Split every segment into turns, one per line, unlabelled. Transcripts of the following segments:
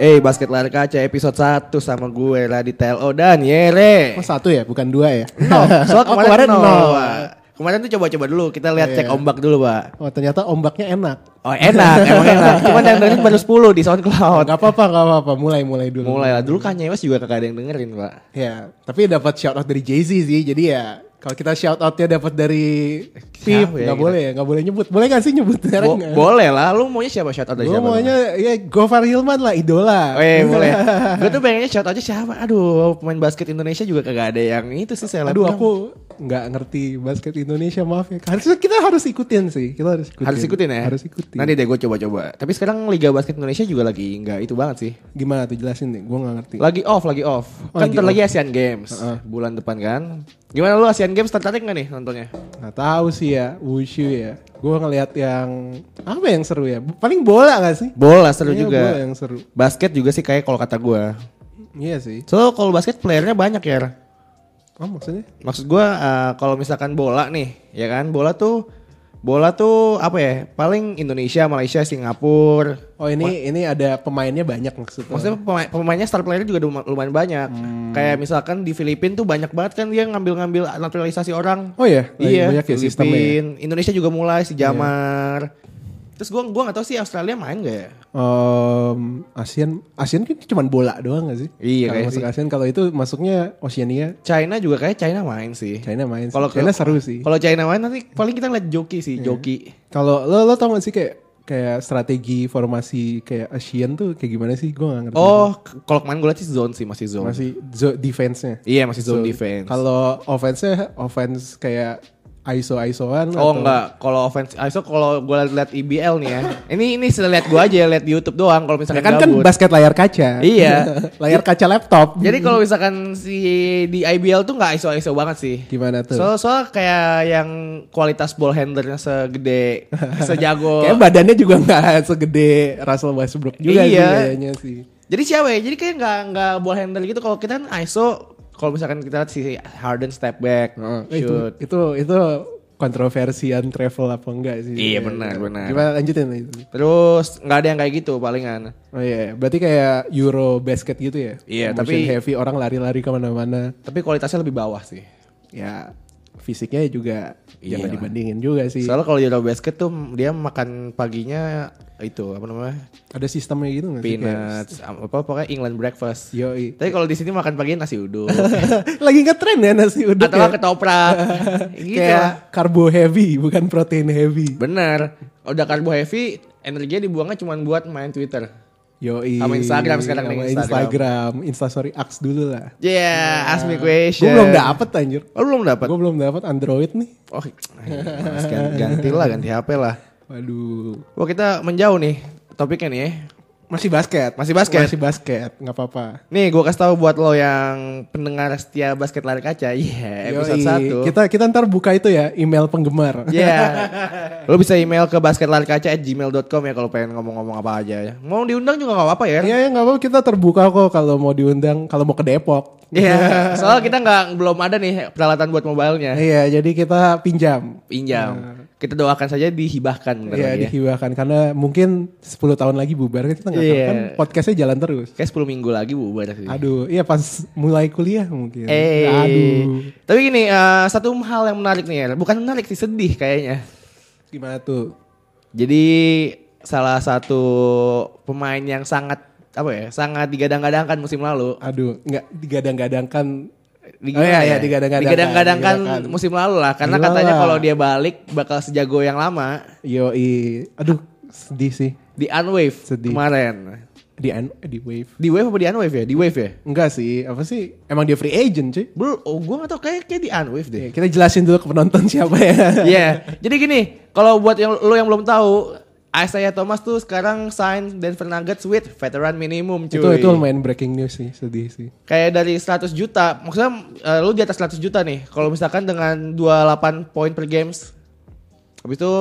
Eh basket lari kaca episode 1 sama gue Raditya LO dan Yere.
Oh satu ya, bukan dua ya?
Nol. Soalnya
Oh,
kemarin,
kemarin
nol.
nol.
Pak. Kemarin tuh coba-coba dulu kita lihat cek
Iya.
ombak dulu, Pak.
Oh ternyata ombaknya enak.
Oh, enak, emang enak. Cuman yang dengerin baru 10 di
Oh,
SoundCloud.
gak apa-apa, gak apa-apa. Mulai, mulai dulu.
Mulai lah dulu Kanye West juga kagak ada yang dengerin, Pak.
Ya, tapi dapat shout out dari Jay Z sih. Jadi ya, kalau kita shout outnya dapat dari
Siapa
Pip,
ya
nggak
kita?
boleh, ya, nggak boleh nyebut. Boleh gak sih nyebut
Bo-
sekarang?
boleh lah, lu maunya siapa shout out dari
Gue
siapa?
maunya ya Gofar Hilman lah, idola.
Eh boleh. Gue tuh pengennya shout aja siapa? Aduh, pemain basket Indonesia juga kagak ada yang itu sih saya
Aduh aku nggak ngerti basket Indonesia maaf ya. Harusnya kita harus ikutin sih. Kita harus ikutin.
harus ikutin ya.
Harus ikutin.
Nanti deh gue coba-coba. Tapi sekarang Liga Basket Indonesia juga lagi nggak itu banget sih.
Gimana tuh jelasin nih? Gue nggak ngerti.
Lagi off, lagi off.
Oh,
kan
lagi
bentar
off.
lagi Asian Games
Heeh.
bulan depan kan. Gimana lu Asian Games tertarik nggak nih nontonnya?
Nggak tahu sih ya, wushu ya. Gue ngelihat yang apa yang seru ya? Paling bola gak sih?
Bola seru
Kayaknya
juga.
bola ya. yang seru.
Basket juga sih kayak kalau kata gue.
Iya sih.
So kalau basket playernya banyak ya.
Oh maksudnya?
Maksud gua eh, kalau misalkan bola nih, ya kan? Bola tuh bola tuh apa ya? Paling Indonesia, Malaysia, Singapura.
Oh ini ini ada pemainnya banyak maksudnya.
Maksudnya pemain, pemainnya star player juga luma- lumayan banyak.
Hmm.
Kayak misalkan di Filipina tuh banyak banget kan dia ngambil-ngambil naturalisasi orang.
Oh ya, lagi
iya,
banyak ya sistemnya. ya? Iya.
Filipina, Indonesia juga mulai si Jamar. Terus gua gua nggak tahu sih Australia main gak ya?
Em, ASEAN ASEAN kan cuma bola doang gak sih?
Iya,
Kalau
kayak
masuk
sih.
ASEAN kalau itu masuknya Oceania,
China juga kayak China main sih.
China main. sih.
Kalau ke-
China seru sih.
Kalau China main nanti paling kita lihat joki sih,
Iya.
joki.
Kalau lo lo tau gak sih kayak kayak strategi formasi kayak Asian tuh kayak gimana sih? Gue gak ngerti.
Oh, k- kalau kemarin gue lihat sih zone sih masih zone.
masih zo- defense-nya.
Iya masih zone
So,
defense.
Kalau offense-nya offense kayak iso isoan
oh enggak, kalau offense ISO kalau gue lihat IBL nih ya. ini ini lihat gue aja lihat di YouTube doang kalau misalkan
kan kan
gabut.
basket layar kaca.
Iya.
layar kaca laptop.
Jadi kalau misalkan si di IBL tuh nggak ISO ISO banget sih.
gimana tuh?
Soal soal kayak yang kualitas ball handlernya segede, sejago.
Kayaknya badannya juga nggak segede Russell Westbrook juga sih
Iya.
kayaknya sih.
Jadi siapa ya? Jadi kayak nggak nggak ball handler gitu. Kalau kita kan ISO, kalau misalkan kita lihat si Harden step back,
Heeh. Oh, gitu. itu
shoot.
itu itu kontroversian travel apa enggak sih?
Iya, benar, benar.
Gimana lanjutin itu?
Terus nggak ada yang kayak gitu palingan.
Oh iya, berarti kayak Euro basket gitu ya?
Iya,
Motion
tapi-
heavy orang lari-lari kemana-mana.
Tapi kualitasnya lebih bawah sih.
Ya fisiknya juga
Iyalah.
jangan dibandingin juga sih.
Soalnya kalau Euro basket tuh dia makan paginya itu apa namanya?
Ada sistemnya gitu nggak sih? Kayak-
Peanuts, apa pokoknya England breakfast.
Yoi.
Tapi kalau di sini makan paginya nasi uduk
Lagi ngetren ya nasi uduk
atau
ya?
ketoprak. gitu.
Kayak
lah.
karbo heavy bukan protein heavy.
Bener. Udah karbo heavy, energinya dibuangnya cuma buat main Twitter.
Yoi.
Sama Instagram sekarang nih,
Sama
Instagram.
Instagram. Instastory Axe dulu lah.
Yeah, ask me
Gue
question.
belum dapet anjir.
Oh, lu belum dapat.
Gue belum dapet Android nih.
Oh, mas, ganti, ganti lah, ganti HP lah.
Waduh.
Wah kita menjauh nih topiknya nih. ya.
Masih basket.
Masih basket?
Masih basket. Gak apa-apa.
Nih gue kasih tahu buat lo yang pendengar setia basket lari kaca, iya episode
Yoi.
satu.
Kita, kita ntar buka itu ya email penggemar.
Ya, lo bisa email ke basketlarikaca@gmail.com ya kalau pengen ngomong-ngomong apa aja. ya. Mau diundang juga nggak apa-apa ya. Iya.
Iya ya gak apa-apa kita terbuka kok kalau mau diundang. Kalau mau ke Depok.
Soal Iya. kita nggak belum ada nih peralatan buat mobilenya.
Iya jadi kita pinjam.
Pinjam. Kita doakan saja dihibahkan. bentar
Iya
lagi ya.
dihibahkan karena mungkin 10 tahun lagi bubar kan kita nggak tahu
Iya.
kan podcastnya jalan terus.
Kayak 10 minggu lagi bubar sih.
Aduh, iya pas mulai kuliah mungkin. Ya,
Eh,
Aduh,
tapi gini, eh, satu hal yang menarik nih ya, bukan menarik sih sedih kayaknya.
gimana tuh?
Jadi salah satu pemain yang sangat apa ya, sangat digadang-gadangkan musim lalu.
Aduh, nggak digadang-gadangkan.
Di-
Oh iya,
gimana
iya,
ya?
digadang-gadangkan,
Digadang-gadangkan
digadangkan.
musim lalu lah, karena
Gila
katanya
lah.
kalau dia balik bakal sejago yang lama
Yoi, aduh sedih sih
di Unwave
Sedih.
kemarin.
di un- di wave.
Di Wave apa di Unwave ya? Di Wave ya?
Enggak sih, apa sih? Emang dia free agent cuy?
Belum, oh gue gak tau, kayak, kayak di Unwave deh.
Ya, kita jelasin dulu ke penonton siapa ya.
Iya, jadi gini, kalau buat yang lo yang belum tahu, Isaiah Thomas tuh sekarang sign Denver Nuggets with veteran minimum cuy.
itu itu lumayan breaking news sih, sedih sih.
kayak dari 100 juta maksudnya eh, lu di atas 100 juta nih kalau misalkan dengan 28 poin per games habis itu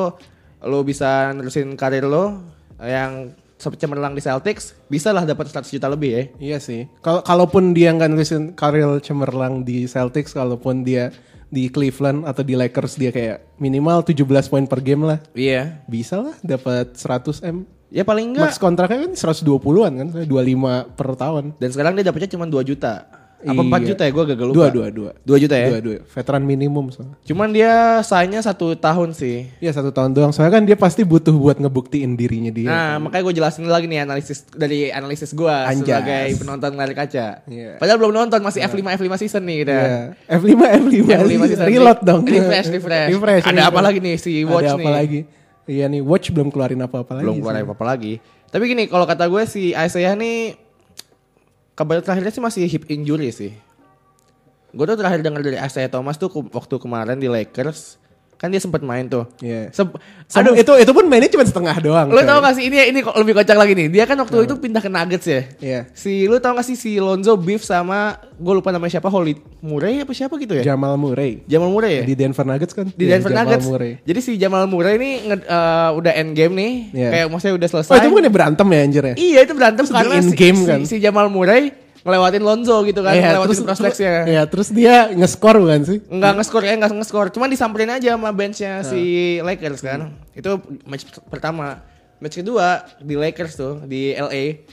lu bisa nerusin karir lu yang cemerlang di Celtics bisa lah dapat 100 juta lebih ya
Iya sih. Kalau kalaupun dia nggak nulisin karir cemerlang di Celtics, kalaupun dia di Cleveland atau di Lakers dia kayak minimal 17 poin per game lah.
iya
Bisa lah dapat 100 M.
Ya paling enggak.
Max kontraknya kan 120-an kan, 25 per tahun.
Dan sekarang dia dapatnya cuma 2 juta. Apa
Iya.
4 juta ya? Gue gagal lupa.
Dua, dua, dua.
2 juta ya?
Dua-dua, veteran minimum soalnya.
Cuman dia sayangnya satu tahun sih.
Iya satu tahun doang, soalnya kan dia pasti butuh buat ngebuktiin dirinya dia.
Nah, makanya gue jelasin lagi nih analisis dari analisis gue
iya. Anjas.
sebagai penonton ngalir kaca.
Iya.
Padahal belum nonton masih F5 F5 season nih kita.
Iya. F5 F5,
F5 season.
reload dong.
Refresh, refresh.
refresh
Ada apa lagi nih si Watch
Ada apa
nih?
lagi? Iya nih Watch belum keluarin apa-apa lagi.
Belum keluar
sih.
apa-apa lagi. Tapi gini, kalau kata gue si Isaiah nih kabar terakhirnya sih masih hip injury sih. Gue tuh terakhir dengar dari Isaiah Thomas tuh ke- waktu kemarin di Lakers kan dia sempat main tuh.
Iya.
Sep-
Sama-
Aduh,
itu itu pun mainnya cuma setengah doang.
Lo
coy.
tau gak sih ini ini kok lebih kocak lagi nih. Dia kan waktu itu pindah ke Nuggets ya.
Iya.
Si lu tau gak sih si Lonzo Beef sama gue lupa namanya siapa Holly Murray apa siapa gitu ya?
Jamal Murray.
Jamal Murray ya?
Di Denver Nuggets kan?
Di
Iya,
Denver
Jamal
Nuggets.
Murray.
Jadi si Jamal Murray ini nge- eh, udah end game nih.
Iya.
Kayak maksudnya udah selesai.
Oh itu bukan berantem ya anjir ya?
Iya itu berantem
Terus
karena
di
si,
in-game
si-
kan?
si Jamal Murray ngelewatin Lonzo gitu kan,
Iya,
ngelewatin prospeknya.
Iya, terus dia nge-score bukan sih?
Enggak nge-score ya, enggak nge-score. Cuman disamperin aja sama benchnya si Lakers kan. Itu match p- pertama. Match kedua di Lakers tuh, di LA.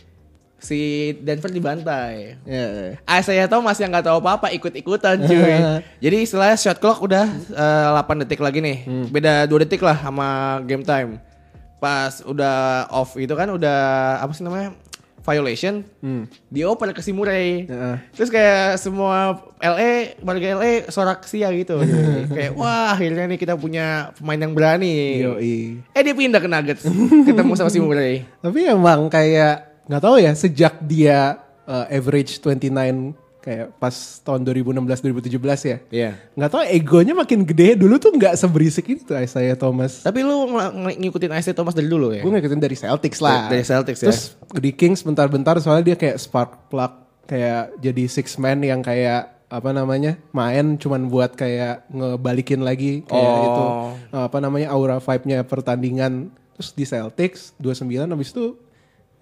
Si Denver dibantai.
Iya. iya.
Isaiah Thomas yang nggak tahu apa-apa ikut-ikutan cuy. Jadi istilahnya shot clock udah eh, 8 detik lagi nih. Beda 2 detik lah sama game time. Pas udah off itu kan udah apa sih namanya? violation. Dioper ke si Murray.
Hmm. Heeh.
Terus kayak semua LA, warga LA sorak sia gitu. cuy. kayak wah akhirnya nih kita punya pemain yang berani.
Yoi.
Eh dia pindah ke Nuggets ketemu sama si Murray.
Tapi emang kayak nggak tahu ya sejak dia uh, average 29 kayak pas tahun 2016 2017 ya.
Iya.
Nggak tahu egonya makin gede dulu tuh nggak seberisik itu Isaiah Thomas.
Tapi lu ng- ng- ngikutin Isaiah Thomas dari dulu ya?
Gue ngikutin dari Celtics lah.
Dari Celtics ya.
Terus di Kings bentar-bentar soalnya dia kayak spark plug kayak jadi six man yang kayak apa namanya main cuman buat kayak ngebalikin lagi kayak
Oh.
itu eh, apa namanya aura vibe-nya pertandingan terus di Celtics 29 habis itu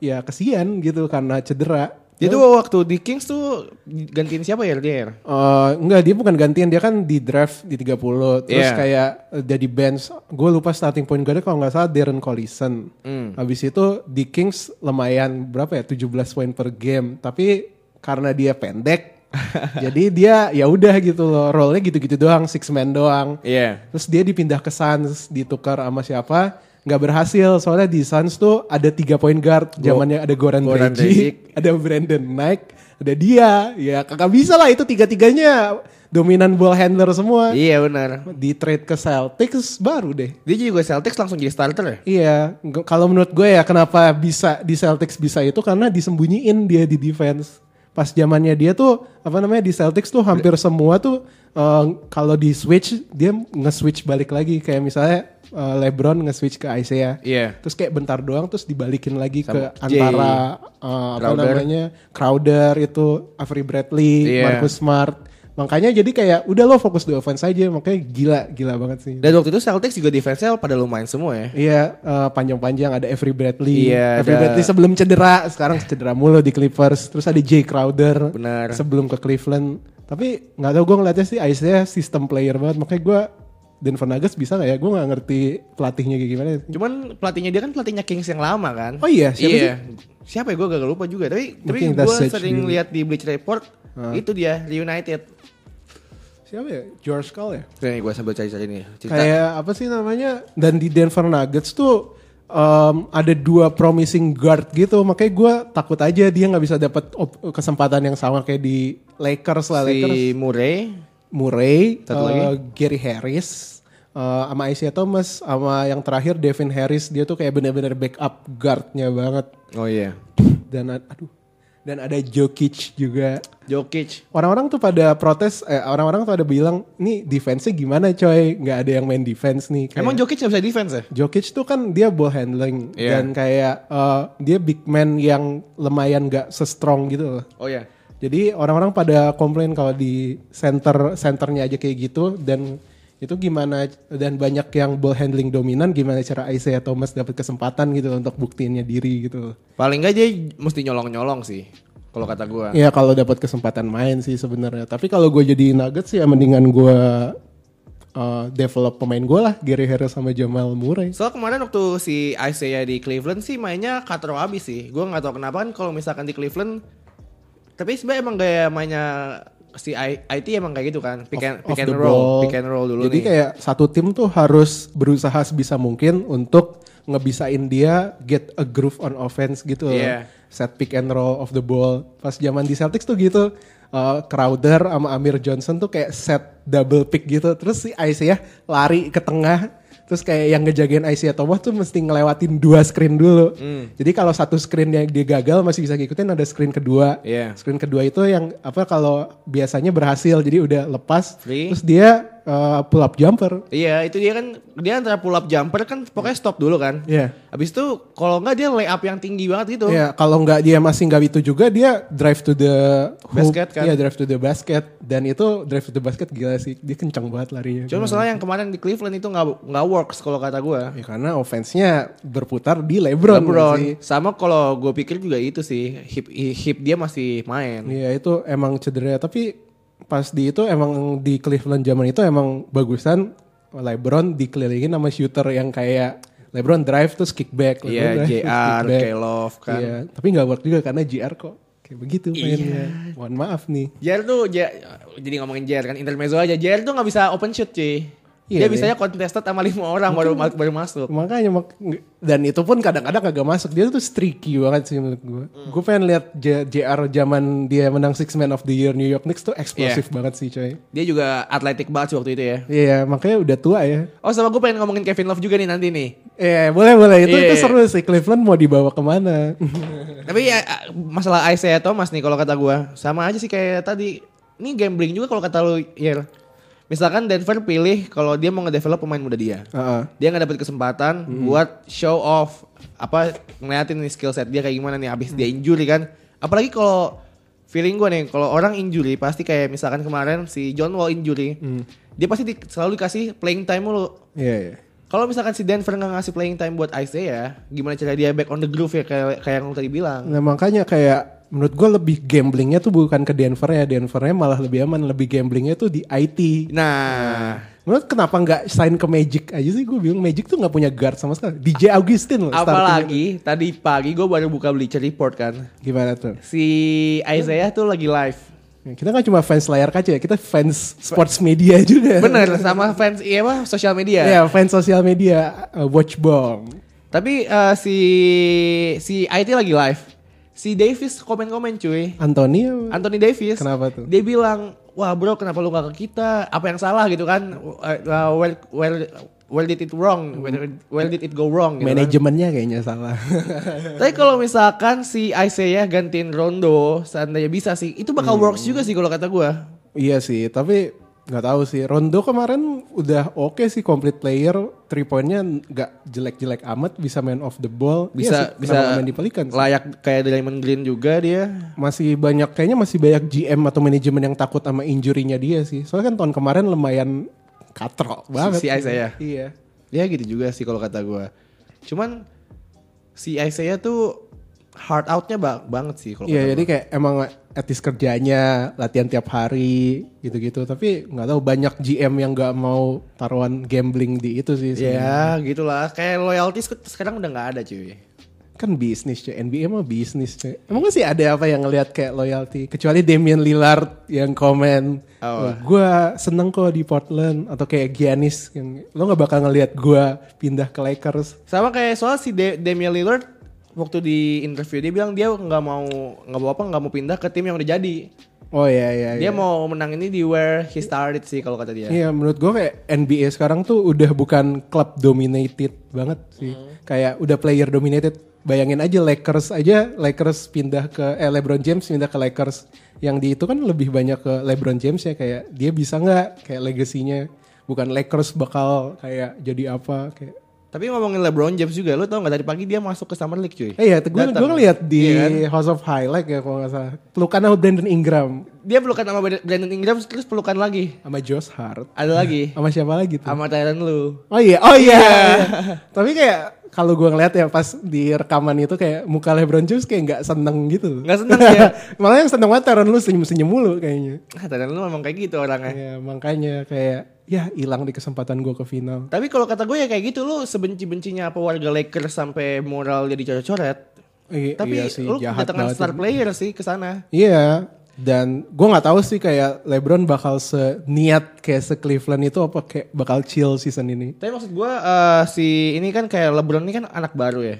ya kesian gitu karena cedera
Dia tuh waktu di Kings tuh gantiin siapa ya dia?
Eh, enggak dia bukan gantian dia kan di draft di 30 terus
Iya.
kayak eh, jadi bench gue lupa starting point guard kalau nggak salah Darren Collison habis itu di Kings lumayan berapa ya 17 poin per game tapi karena dia pendek jadi dia ya udah gitu loh role-nya gitu-gitu doang six man doang
Iya.
terus dia dipindah ke Suns ditukar sama siapa nggak berhasil soalnya di Suns tuh ada tiga point guard zamannya ada Goran,
Goran Dragic.
Dragic ada Brandon Knight, ada dia. Ya kakak bisa lah itu tiga-tiganya dominan ball handler semua.
Iya benar.
Di trade ke Celtics baru deh.
Dia juga Celtics langsung jadi starter ya?
Iya, nggak- kalau menurut gue ya kenapa bisa di Celtics bisa itu karena disembunyiin dia di defense. Pas zamannya dia tuh apa namanya di Celtics tuh hampir semua tuh eh, kalau di switch dia nge-switch balik lagi kayak misalnya eh, LeBron nge-switch ke Isaiah.
Iya.
Terus kayak bentar doang terus dibalikin lagi
Sama
ke
Jay.
antara eh, apa
Crowder.
namanya Crowder itu Avery Bradley,
Iya.
Marcus Smart. Makanya jadi kayak udah lo fokus di offense aja makanya gila gila banget sih.
Dan waktu itu Celtics juga defense-nya pada lumayan semua ya.
Iya, eh, panjang-panjang ada Avery Bradley.
Iya,
Avery
ada-
Bradley sebelum cedera, sekarang cedera mulu di Clippers. Terus ada Jay Crowder.
Benar.
Sebelum ke Cleveland. Tapi nggak tahu gue ngeliatnya sih Isaiah sistem player banget. Makanya gue Denver Nuggets bisa nggak ya? Gue nggak ngerti pelatihnya kayak gimana.
Cuman pelatihnya dia kan pelatihnya Kings yang lama kan?
Oh iya, siapa
iya. Siapa ya gue gak lupa juga. Tapi tapi
Mungkin kita
gue
search
sering
dulu. Ah.
lihat di Bleach Report itu dia Reunited.
Siapa ya? George Karl ya?
Kayaknya gue sambil cari-cari nih. Cerita.
Kayak apa sih namanya? Dan di Denver Nuggets tuh em, ada dua promising guard gitu. Makanya gue takut aja dia nggak bisa dapat op- kesempatan yang sama kayak di Lakers lah. Lakers.
si Murray.
Murray,
Satu
eh,
lagi.
Gary Harris, eh, sama Isaiah Thomas, sama yang terakhir Devin Harris. Dia tuh kayak bener-bener backup guardnya banget.
Oh iya.
Dan a- aduh, dan ada Jokic juga.
Jokic.
Orang-orang tuh pada protes, eh, orang-orang tuh ada bilang, nih defense-nya gimana coy? Nggak ada yang main defense nih. Kayak-
Emang Jokic gak bisa defense ya?
Jokic tuh kan dia ball handling
Iya.
dan kayak eh, dia big man yang lumayan gak se-strong gitu loh.
Oh iya.
Jadi orang-orang pada komplain kalau di center centernya aja kayak gitu dan itu gimana dan banyak yang ball handling dominan gimana cara Isaiah Thomas dapat kesempatan gitu loh untuk buktiinnya diri gitu. loh.
Paling gak dia mesti nyolong-nyolong sih. Kalau kata gue.
Ya kalau dapat kesempatan main sih sebenarnya. Tapi kalau gue jadi Nuggets ya mendingan gue eh, develop pemain gue lah Gary Harris sama Jamal Murray.
Soal kemarin waktu si Isaiah di Cleveland sih mainnya katro abis sih. Gue nggak tahu kenapa kan kalau misalkan di Cleveland, tapi sebenarnya emang gaya mainnya si I- IT emang kayak gitu kan. Pick and,
Off- off
pick and
the
roll,
ball.
pick and roll dulu
Jadi
nih.
kayak satu tim tuh harus berusaha sebisa mungkin untuk ngebisain dia get a groove on offense gitu. loh.
Iya.
Set pick and roll of the ball. Pas zaman di Celtics tuh gitu. uh, Crowder sama Amir Johnson tuh kayak set double pick gitu. Terus si Isaiah lari ke tengah. Terus kayak yang ngejagain Isaiah Thomas tuh mesti ngelewatin dua screen dulu.
Hmm.
Jadi kalau satu screen yang dia gagal masih bisa ngikutin ada screen kedua.
Iya.
Screen kedua itu yang apa kalau biasanya berhasil jadi udah lepas
Free.
terus dia uh, pull up jumper.
Iya itu dia kan dia antara pull up jumper kan pokoknya stop dulu kan.
Iya.
Abis itu kalau nggak dia lay up yang tinggi banget gitu.
Iya, kalau nggak dia masih nggak itu juga dia drive to the hoop.
Basket kan?
Iya, drive to the basket dan itu drive to the basket gila sih. Dia kencang banget larinya.
Cuma masalah yang kemarin di Cleveland itu nggak nggak works kalau kata gue.
Ya, karena offense-nya berputar di LeBron, ya
LeBron.
sih.
Sama kalau gue pikir juga itu sih hip hip dia masih main.
Iya, itu emang cedera tapi pas di itu emang di Cleveland zaman itu emang bagusan LeBron dikelilingin sama shooter yang kayak LeBron drive terus kickback. LeBron
Iya
drive, terus
JR,
kickback.
Kelov kan. Iya.
Iya, tapi nggak work juga karena JR kok kayak begitu mainnya. Mohon maaf nih.
JR tuh J- jadi ngomongin JR kan intermezzo aja. JR tuh nggak bisa open shoot cuy. dia
Iya,
bisanya contested sama lima orang baru ma- baru masuk.
Makanya mak- dan itu pun kadang-kadang agak masuk. Dia tuh streaky banget sih menurut gue.
Hmm.
Gue pengen lihat J- JR zaman dia menang Six Man of the Year New York Knicks tuh
Iya.
eksplosif banget sih coy.
Dia juga atletik banget sih waktu itu ya.
Iya, makanya udah tua ya.
Oh sama gue pengen ngomongin Kevin Love juga nih nanti nih.
Iya, boleh boleh itu itu
Iya.
seru sih Cleveland mau dibawa kemana?
Tapi ya a- masalah Isaiah Thomas nih kalau kata gua sama aja sih kayak tadi. Ini gambling juga kalau kata lu Yer. Misalkan Denver pilih kalau dia mau ngedevelop pemain muda dia.
Heeh.
Dia nggak dapet kesempatan buat show off apa ngeliatin nih skill set dia kayak gimana nih abis dia injury kan. Apalagi kalau feeling gua nih kalau orang injury pasti kayak misalkan kemarin si John Wall injury. Dia pasti di- selalu dikasih playing time mulu.
Iya, iya.
Kalau misalkan si Denver nggak ngasih playing time buat Isaiah, ya, gimana cara dia back on the groove ya kayak kayak yang lu tadi bilang.
Nah makanya kayak menurut gue lebih gamblingnya tuh bukan ke Denver ya. Denvernya malah lebih aman. Lebih gamblingnya tuh di IT.
Nah,
Menurut kenapa nggak sign ke Magic aja sih? Gue bingung Magic tuh nggak punya guard sama sekali. DJ Augustin loh. starting.
apalagi tadi pagi gue baru buka Bleacher Report kan.
Gimana tuh?
Si Isaiah tuh lagi live.
Kita kan cuma fans layar kaca ya. Kita fans sports media juga.
Bener sama fans iya apa sosial media.
Ya fans sosial media uh, watch bomb.
Tapi eh, si si IT lagi live. Si Davis komen-komen cuy.
Anthony uh,
Anthony Davis.
Kenapa tuh?
Dia bilang, "Wah, Bro, kenapa lu gak ke kita? Apa yang salah gitu kan? Uh, where where where did it wrong? Where, where did it go wrong?" gitu kan.
manajemennya kayaknya salah.
Tapi kalau misalkan si Isaiah gantiin Rondo, seandainya bisa sih, itu
Hmm.
bakal works juga sih kalau kata gua.
iya sih, tapi nggak tahu sih. Rondo kemarin udah oke sih complete player, three pointnya nggak jelek-jelek amat, bisa main off the ball. Iya
Bisa
sih,
bisa
kenapa nggak main di Pelicans?
Layak kayak Draymond Green juga dia.
masih banyak kayaknya masih banyak GM atau manajemen yang takut sama injurinya dia sih. Soalnya kan tahun kemarin lumayan katrok banget.
si Isaiah.
Iya.
Ya gitu juga sih kalau kata gua. Cuman si Isaiah tuh hard outnya ba- banget sih kalau
Iya,
kata
jadi kayak emang etis kerjanya, latihan tiap hari gitu-gitu. Tapi nggak tahu banyak GM yang nggak mau taruhan gambling di itu
gua.
sih. sebenarnya.
Ya gitulah. Kayak loyalty se- sekarang udah nggak ada cuy.
Kan bisnis cuy, NBA mah bisnis cuy. Emang sih ada apa yang ngelihat kayak loyalty? Kecuali Damian Lillard yang komen,
Oh.
gue seneng kok di Portland. Atau kayak Giannis, yang, lo nggak bakal ngelihat gue pindah ke Lakers.
Sama kayak soal si De- Damian Lillard waktu di interview dia bilang dia nggak mau nggak mau apa nggak mau pindah ke tim yang udah jadi.
Oh iya iya.
Dia
iya.
mau menang ini di where he started sih kalau kata dia.
Iya menurut gue kayak NBA sekarang tuh udah bukan club dominated banget sih.
Hmm.
Kayak udah player dominated. Bayangin aja Lakers aja Lakers pindah ke eh LeBron James pindah ke Lakers. Yang di itu kan lebih banyak ke LeBron James ya kayak dia bisa nggak kayak legasinya bukan Lakers bakal kayak jadi apa kayak
Tapi ngomongin LeBron James juga, lu tau gak tadi pagi dia masuk ke Summer League cuy.
Eh iya, gue
Datang.
gue ngeliat di
Iya kan?
House of Highlight ya kalau nggak salah. Pelukan sama Brandon Ingram,
Dia pelukan sama Brandon Ingram terus pelukan lagi.
sama Josh Hart,
Ada lagi
Iya. sama siapa lagi tuh?
sama Tyron lu.
Oh iya, oh iya.
Iya.
Tapi kayak kalau gue ngeliat ya pas di rekaman itu kayak muka LeBron James kayak nggak seneng gitu loh.
Nggak seneng ya?
Malah yang seneng banget Taron lu senyum-senyum mulu kayaknya.
Ah, Tadang lu memang kayak gitu orangnya.
Ya, makanya kayak ya hilang di kesempatan gue ke final.
Tapi kalau kata gue ya kayak gitu lu sebenci-bencinya apa warga Lakers sampai moral jadi coret-coret.
I-
Tapi
iya sih,
lu
jahat
kedatangan
banget
star
itu.
player sih ke sana.
Iya. Dan gue nggak tahu sih kayak LeBron bakal seniat kayak se Cleveland itu apa kayak bakal chill season ini.
Tapi maksud gue eh, si ini kan kayak LeBron ini kan anak baru ya.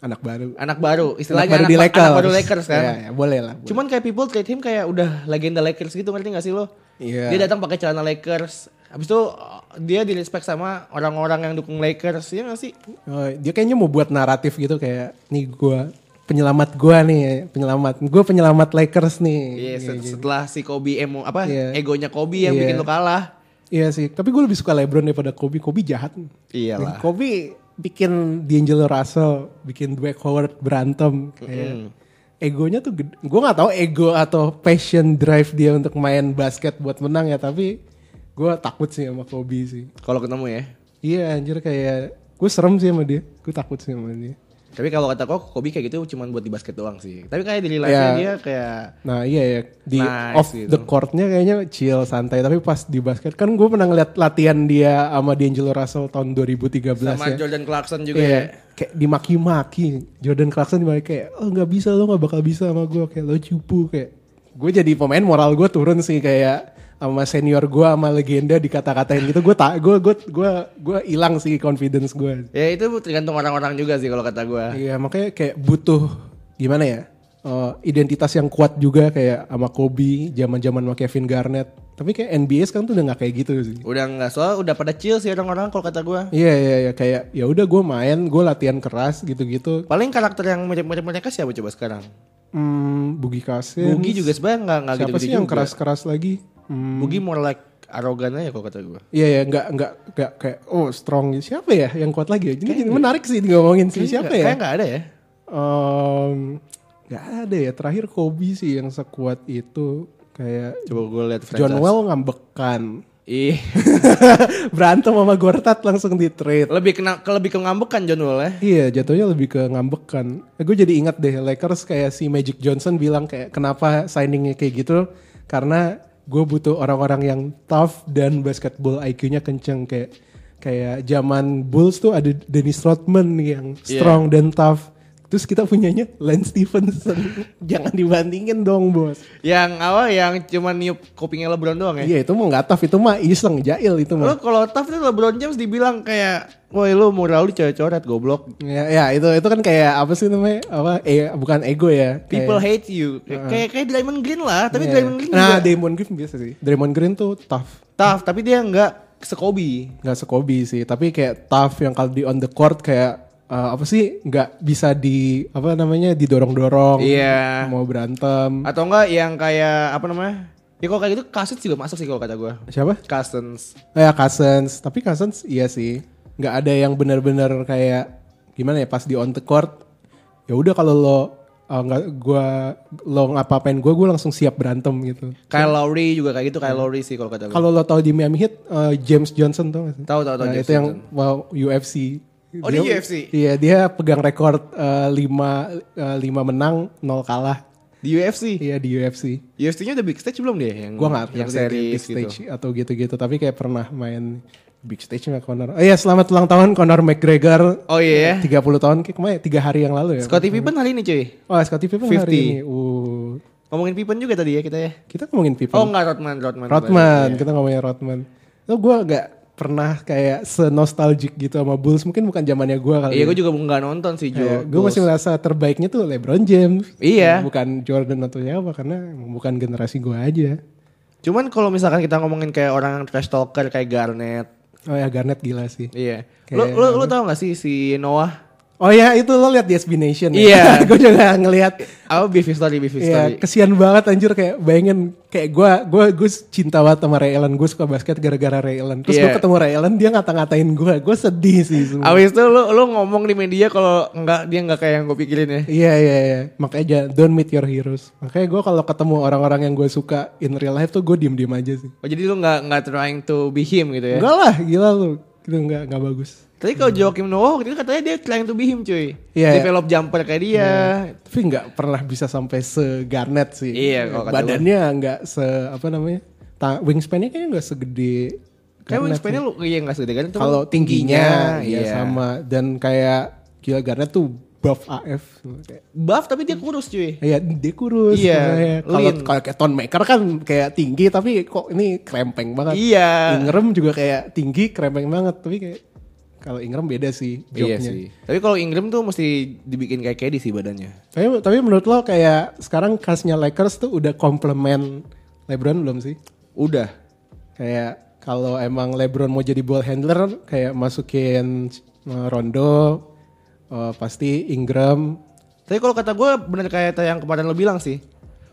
Anak baru.
Anak baru,
Anak
istilahnya
baru
anak,
di
ba-
Lakers.
anak baru Lakers kan.
Iya, iya, boleh lah.
Cuman kayak people treat him kayak udah legenda Lakers gitu ngerti gak sih lo?
Iya.
Dia datang pakai celana Lakers. Habis itu uh, dia di respect sama orang-orang yang dukung Lakers. Iya gak sih?
Oh, dia kayaknya mau buat naratif gitu kayak nih gua penyelamat gua nih, penyelamat. Gua penyelamat Lakers nih.
Iya,
Iya,
set- setelah si Kobe emo apa
Iya.
egonya Kobe yang
Iya.
bikin lo kalah.
Iya sih, tapi gue lebih suka LeBron daripada Kobe. Kobe jahat.
Iyalah.
Kobe bikin D'Angelo Russell, bikin Dwight Howard berantem kayak egonya tuh gede. Gue nggak tahu ego atau passion drive dia untuk main basket buat menang ya, tapi gue takut sih sama Kobe sih.
Kalau ketemu ya.
Iya anjir kayak gue serem sih sama dia. Gue takut sih sama dia.
Tapi kalau kata kok Kobe kayak gitu cuman buat di basket doang sih. Tapi kayak di live-nya
Iya.
dia kayak
Nah iya ya di
Nice
off
gitu.
the courtnya kayaknya chill santai tapi pas di basket kan gue pernah ngeliat latihan dia sama D'Angelo Russell tahun 2013
sama
ya.
Jordan Clarkson juga
Iya,
ya.
kayak dimaki-maki Jordan Clarkson dimaki kayak oh nggak bisa lo nggak bakal bisa sama gue kayak lo cupu kayak gue jadi pemain moral gue turun sih kayak sama senior gue sama legenda dikata-katain gitu gue tak gue gue gue gue hilang sih confidence gue
Ya itu tergantung orang-orang juga sih kalau kata gue.
Iya makanya kayak butuh gimana ya eh, identitas yang kuat juga kayak sama Kobe, zaman zaman sama Kevin Garnett. Tapi kayak NBA sekarang tuh udah nggak kayak gitu sih.
Udah nggak soal udah pada chill sih orang-orang kalau kata gue.
Iya iya iya kayak ya udah gue main, gue latihan keras gitu-gitu.
Paling karakter yang mirip-mirip mereka siapa coba sekarang?
Hmm, Bugi Cousins.
Bugi juga sebenarnya nggak nggak
Siapa
gitu-gitu
sih yang
juga.
keras-keras lagi? Hmm,
Bugi more like arogan aja kalau kata gue.
Iya ya nggak nggak nggak kayak oh strong gitu. siapa ya yang kuat lagi ya? Ini menarik sih ngomongin sih siapa
Kayak
ya?
nggak ada ya.
Em, Nggak ada ya terakhir Kobe sih yang sekuat itu kayak
Coba gue lihat
John
franchise.
Wall ngambekan.
Ih,
Berantem sama Gortat langsung di trade.
lebih kena ke lebih ke ngambekan John Wall ya.
Iya, jatuhnya lebih ke ngambekan. Eh, gue jadi ingat deh Lakers kayak si Magic Johnson bilang kayak kenapa signingnya kayak gitu karena gue butuh orang-orang yang tough dan basketball IQ-nya kenceng kayak kayak zaman Bulls tuh ada Dennis Rodman yang strong dan tough. Terus kita punyanya Lance Stevenson. Jangan dibandingin dong, Bos.
Yang awal yang cuman niup kupingnya LeBron doang ya.
Iya, itu mah nggak tough, itu mah iseng, jail itu mah.
Lo kalau tough tuh LeBron James dibilang kayak, "Woi, lu moral lu coret-coret goblok.
Ya, ya itu itu kan kayak apa sih namanya? Apa eh bukan ego ya. Kayak-
People hate you." Kayak kayak kayak Draymond Green lah, tapi
Iya.
Draymond Green
Nah,
juga
Draymond Green biasa sih. Draymond Green tuh tough.
tough, tapi dia nggak sekobi.
nggak sekobi sih, tapi kayak tough yang kalau di on the court kayak eh, apa sih nggak bisa di apa namanya didorong-dorong
Iya.
mau berantem
Atau enggak yang kayak apa namanya? Ya kalau kayak gitu Cousins juga masuk sih kalau kata gue.
siapa
Cousins.
Eh, ya Cousins tapi Cousins iya sih nggak ada yang benar-benar kayak gimana ya pas di on the court ya udah kalau lo eh, nggak gua lo ngapa-apain gue gue langsung siap berantem gitu
Kyle Lowry juga kayak gitu, Kyle Lowry sih kalau kata gue.
Iya. Kalau lo tahu di Miami Heat eh, James Johnson tuh
Tahu, tahu, tahu James
Nah, itu yang wow, UFC.
Oh, dia UFC?
Iya, dia pegang rekor eh, 5 menang, 0 kalah.
Di UFC.
Iya di UFC.
UFC-nya udah big stage belum deh yang
Gua nggak
yang
ngerti dia
series
big stage
Hmm, gitu.
atau gitu-gitu, tapi kayak pernah main big stage nggak Conor. Oh iya, selamat ulang tahun Conor McGregor.
Oh iya.
30 tahun kayak kemarin 3 hari yang lalu ya.
Scottie Pippen hari ini cuy.
Oh, Scottie Pippen
50.
hari ini. Uh,
Ngomongin Pippen juga tadi ya kita ya.
kita ngomongin Pippen.
Oh enggak Rodman, Rodman.
Iya.
Iya.
Rodman, kita ngomongin Rodman. Lo gue gak pernah kayak senostalgic gitu sama Bulls. Mungkin bukan zamannya gue kali.
Iya, gue juga nggak nonton sih Jo.
gue masih merasa terbaiknya tuh LeBron James.
Iya.
Bukan Jordan atau siapa karena emang bukan generasi gue aja.
Cuman kalau misalkan kita ngomongin kayak orang yang trash talker kayak Garnett,
Oh ya Garnett gila sih.
iya.
Kayak-
Lu lu lu tau gak sih si Noah?
Oh ya itu lo liat di SB Nation.
Iya.
Ya? gue juga ngeliat.
Apa beef story, beef
Iya,
story.
kesian banget anjir kayak bayangin kayak gue gue gue cinta banget sama Ray Allen gue suka basket gara-gara Ray Allen terus
Iya.
gue ketemu Ray Allen dia ngata-ngatain gue gue sedih sih sumpah.
Abis itu lu lu ngomong di media kalau enggak dia enggak kayak yang gue pikirin ya.
Iya iya iya. Makanya jangan don't meet your heroes. Makanya gue kalau ketemu orang-orang yang gue suka in real life tuh gue diem-diem aja sih.
Oh, jadi lu nggak nggak trying to be him gitu ya?
Enggak lah, gila lu. Itu enggak enggak bagus.
Tapi kalau Joakim Noah waktu itu katanya dia trying to be him cuy.
Hmm. Iya, iya.
Develop jumper kayak dia.
Tapi nggak pernah bisa sampai se Garnet sih.
Iya, kalau kata
Badannya nggak se apa namanya? ta- wingspan-nya kayaknya nggak segede.
Kayak Iya.
Garnet
wingspan-nya lu iya enggak segede kan
sih. kalau tingginya ya sama dan kayak gila Garnet tuh buff AF. Kayak-
Buff tapi dia kurus cuy.
Iya, dia kurus.
Iya,
sebenarnya. Kalau
lean.
kalau kayak Tone Maker kan kayak tinggi tapi kok ini krempeng banget.
Iya.
Ingram juga kayak tinggi, krempeng banget tapi kayak kalau Ingram beda sih
Iya
jobnya.
sih. Tapi kalau Ingram tuh mesti dibikin kayak Kedi sih badannya.
Tapi tapi menurut lo kayak sekarang khasnya Lakers tuh udah komplement LeBron belum sih?
Udah.
Kayak kalau emang LeBron mau jadi ball handler kayak masukin eh, Rondo eh, pasti Ingram
Tapi kalau kata gue bener kayak yang kemarin lo bilang sih.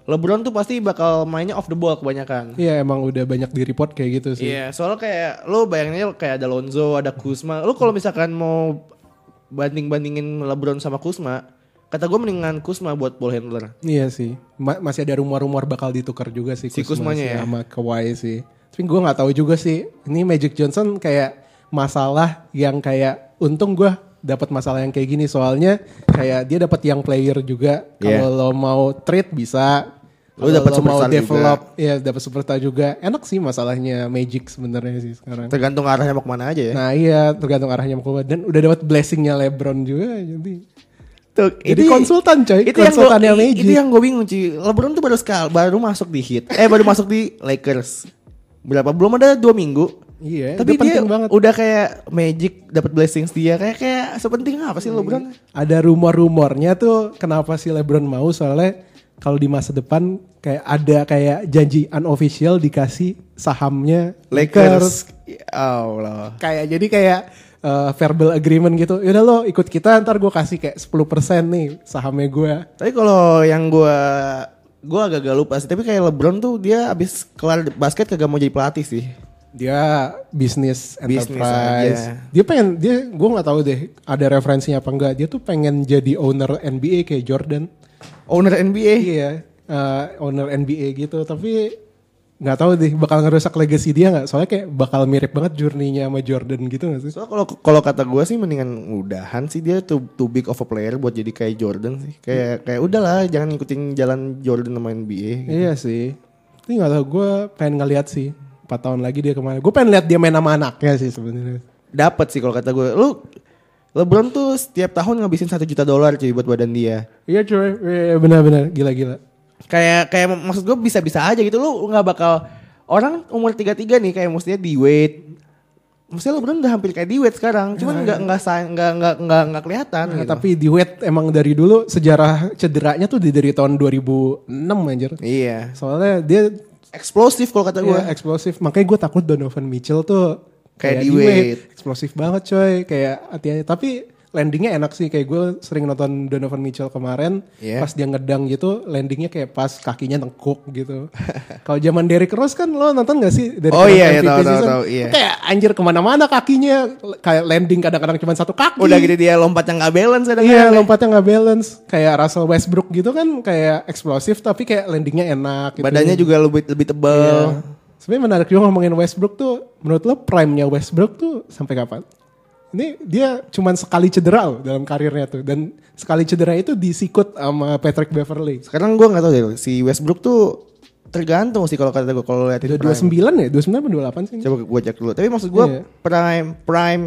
LeBron tuh pasti bakal mainnya off the ball kebanyakan.
Iya emang udah banyak di report kayak gitu sih.
Iya, soalnya kayak lu bayanginnya kayak ada Lonzo, ada Kuzma. Lu kalau misalkan mau banding-bandingin LeBron sama Kuzma, kata gue mendingan Kuzma buat ball handler.
Iya sih, Ma- masih ada rumor-rumor bakal ditukar juga sih
Si
Kuzma
Kuzmanya
sih
ya?
sama Kawhi sih. Tapi gue nggak tahu juga sih. Ini Magic Johnson kayak masalah yang kayak untung gue dapat masalah yang kayak gini soalnya kayak dia dapat yang player juga. Kalau lo mau trade bisa.
Lo
Kalau
dapat
lo mau
Iya. superstar
develop, ya dapat superstar juga. Enak sih masalahnya Magic sebenarnya sih sekarang.
Tergantung arahnya mau kemana aja ya.
Nah iya tergantung arahnya mau kemana. dan udah dapat blessingnya LeBron juga jadi
Tuh,
jadi
ini-
konsultan coy
itu yang gua,
konsultannya Magic
itu yang gue bingung cuy. LeBron tuh baru sekal, baru masuk di Heat. Eh baru masuk di Lakers. Berapa? Belum ada dua minggu.
Iya,
Tapi
udah
dia
penting banget.
udah kayak Magic dapat blessings dia kayak kayak sepenting apa sih
Hmm.
LeBron?
ada rumor-rumornya tuh kenapa si LeBron mau soalnya kalau di masa depan kayak ada kayak janji unofficial dikasih sahamnya Lakers.
Lakers. Ya Allah.
Kayak jadi kayak uh, verbal agreement gitu. Yaudah lo ikut kita ntar gue kasih kayak 10% nih sahamnya gue.
Tapi kalau yang gua gua agak-agak lupa sih. Tapi kayak LeBron tuh dia abis kelar basket kagak mau jadi pelatih sih.
Dia bisnis
Bisnis
enterprise.
aja.
Dia pengen dia gue nggak tahu deh ada referensinya apa enggak. Dia tuh pengen jadi owner NBA kayak Jordan.
Owner NBA.
Iya, eh, owner NBA gitu. Tapi nggak tahu deh bakal ngerusak legacy dia nggak? Soalnya kayak bakal mirip banget journey-nya sama Jordan gitu nggak sih?
Soalnya kalau kalau kata gua sih mendingan udahan sih dia too, too big of a player buat jadi kayak Jordan sih. Kayak kayak udahlah jangan ngikutin jalan Jordan sama NBA.
Iya sih. Tapi nggak tahu. Gue pengen ngeliat sih. 4 tahun lagi dia kemana? Gue pengen lihat dia main sama anaknya sih sebenarnya.
Dapat sih kalau kata gua. Lu LeBron tuh setiap tahun ngabisin satu juta dolar cuy buat badan dia.
Iya cuy, Iya, benar-benar gila-gila.
Kayak kayak mak- maksud gua bisa-bisa aja gitu lu nggak bakal orang umur 33 nih kayak maksudnya di weight Maksudnya LeBron udah hampir kayak di weight sekarang, cuman nggak nggak sa- nggak nggak nggak nggak kelihatan.
Nah,
gitu.
tapi di Wade emang dari dulu sejarah cederanya tuh di- dari tahun 2006 anjir.
iya,
Soalnya dia
eksplosif kalau kata gue.
Iya, eksplosif. Makanya gue takut Donovan Mitchell tuh
Kayak di
di
Wade.
Wade. Eksplosif banget coy. Kayak hati-hati. Tapi landingnya enak sih. Kayak gue sering nonton Donovan Mitchell kemarin.
Iya.
Pas dia ngedang gitu, landingnya kayak pas kakinya tengkuk gitu. Kalau zaman Derrick Rose kan lo nonton gak sih? Derrick
Oh
Rose
iya, iya,
MVP
tahu, tahu,
season?
tahu, iya.
Kayak anjir kemana-mana kakinya. Kayak landing kadang-kadang cuma satu kaki.
Udah gitu dia lompat yang nggak balance kadang
Iya lompatnya nggak balance kayak Russell Westbrook gitu kan kayak eksplosif tapi kayak landingnya enak. Gitu. Iya.
Badannya juga lebih lebih tebal.
Sebenarnya menarik juga ngomongin Westbrook tuh. Menurut lo prime-nya Westbrook tuh sampai kapan? Ini dia cuman sekali cedera loh dalam karirnya tuh dan sekali cedera itu disikut sama Patrick Beverly.
Sekarang gue nggak tahu deh si Westbrook tuh tergantung sih kalau kata gue kalau lihat
Udah
itu
29 ya? 29 apa 28 sih?
Coba gue cek dulu. Tapi maksud gue
Iya.
prime prime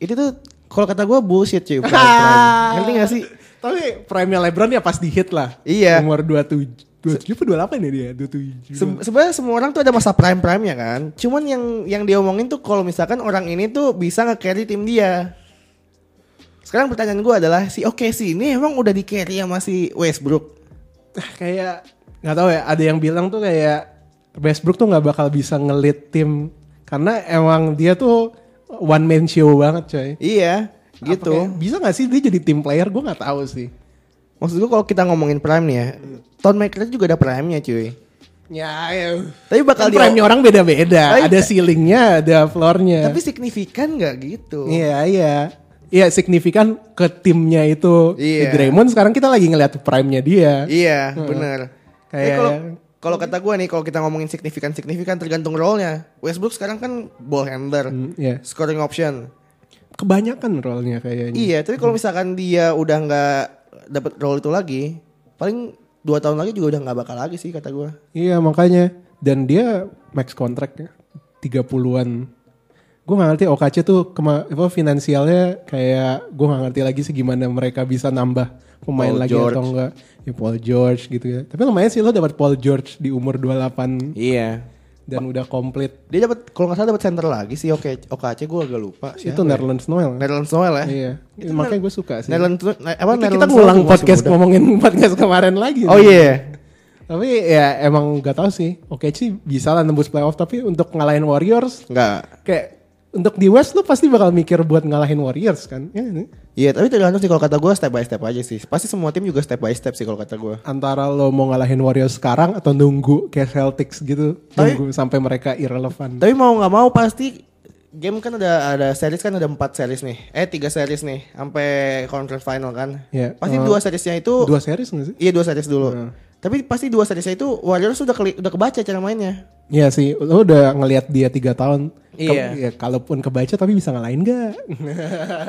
itu tuh kalau kata gue bullshit cuy. Prime, prime. Ngerti gak sih?
Ah. Tapi prime-nya LeBron ya pas di hit lah.
Iya.
Umur 27 27 apa 28 ya dia? 27.
Se- sebenarnya semua orang tuh ada masa prime prime ya kan. Cuman yang yang dia omongin tuh kalau misalkan orang ini tuh bisa nge-carry tim dia. Sekarang pertanyaan gue adalah si OKC ini emang udah di carry sama si Westbrook.
Ah, kayak nggak tahu ya ada yang bilang tuh kayak Westbrook tuh nggak bakal bisa ngelit tim karena emang dia tuh one man show banget coy
Iya,
Apa
gitu.
kayak- bisa nggak sih dia jadi tim player gue nggak tahu sih
Maksud gue kalau kita ngomongin prime nih ya, Tone Maker juga ada prime-nya cuy.
ya, ya.
Tapi bakal
kan
di-
prime orang beda beda
Tapi-
ada ceilingnya ada floornya
Tapi signifikan nggak gitu?
iya iya Iya signifikan ke timnya itu
Iya.
Di Draymond sekarang kita lagi ngeliat prime-nya dia.
Iya, benar.
Kayak-
Tapi kalau kalau kata gue nih, kalau kita ngomongin signifikan signifikan tergantung role-nya. Westbrook sekarang kan ball handler,
Hmm, iya.
scoring option.
kebanyakan role-nya kayaknya.
Iya, tapi kalau misalkan dia udah nggak dapat role itu lagi, paling dua tahun lagi juga udah nggak bakal lagi sih kata gua.
Iya makanya dan dia max ya, kontraknya 30-an. Gue gak ngerti OKC tuh kema- apa finansialnya kayak gue gak ngerti lagi sih gimana mereka bisa nambah pemain
Paul
lagi atau
George.
enggak. Ya Paul George gitu ya. Tapi lumayan sih lo dapat Paul George di umur 28
Iya.
dan udah komplit.
Dia dapat kalau nggak salah dapat center lagi sih oke OKC gua agak lupa siapa
Itu Nerlens Noel.
Netherlands Noel ya.
Iya.
Itu
makanya gue suka sih.
Netherlands Ne- apa
Kita, kita
Netherlands Noel
ngulang
juga masih
podcast
muda.
ngomongin podcast kemarin lagi.
Oh
nih.
iya.
Tapi ya emang gak tahu sih. Oke sih bisa lah nembus playoff tapi untuk ngalahin Warriors
Enggak.
kayak untuk di West lu pasti bakal mikir buat ngalahin Warriors kan. Ya, ini.
Iya, tapi tergantung sih kalau kata gua step by step aja sih. Pasti semua tim juga step by step sih kalau kata gua.
Antara lo mau ngalahin Warriors sekarang atau nunggu kayak Celtics gitu,
Tapi-
nunggu sampai mereka irrelevant.
Tapi mau nggak mau pasti game kan ada ada series kan ada empat series nih. Eh tiga series nih sampai conference final kan.
Iya.
Pasti
Eh,
dua seriesnya itu
Dua series gak sih?
iya dua series dulu. Tapi pasti dua seriesnya itu Warriors sudah keli- udah kebaca cara mainnya.
Iya sih, lo udah ngelihat dia tiga tahun. Ke-
Iya.
ya, kalaupun kebaca tapi bisa ngalahin gak?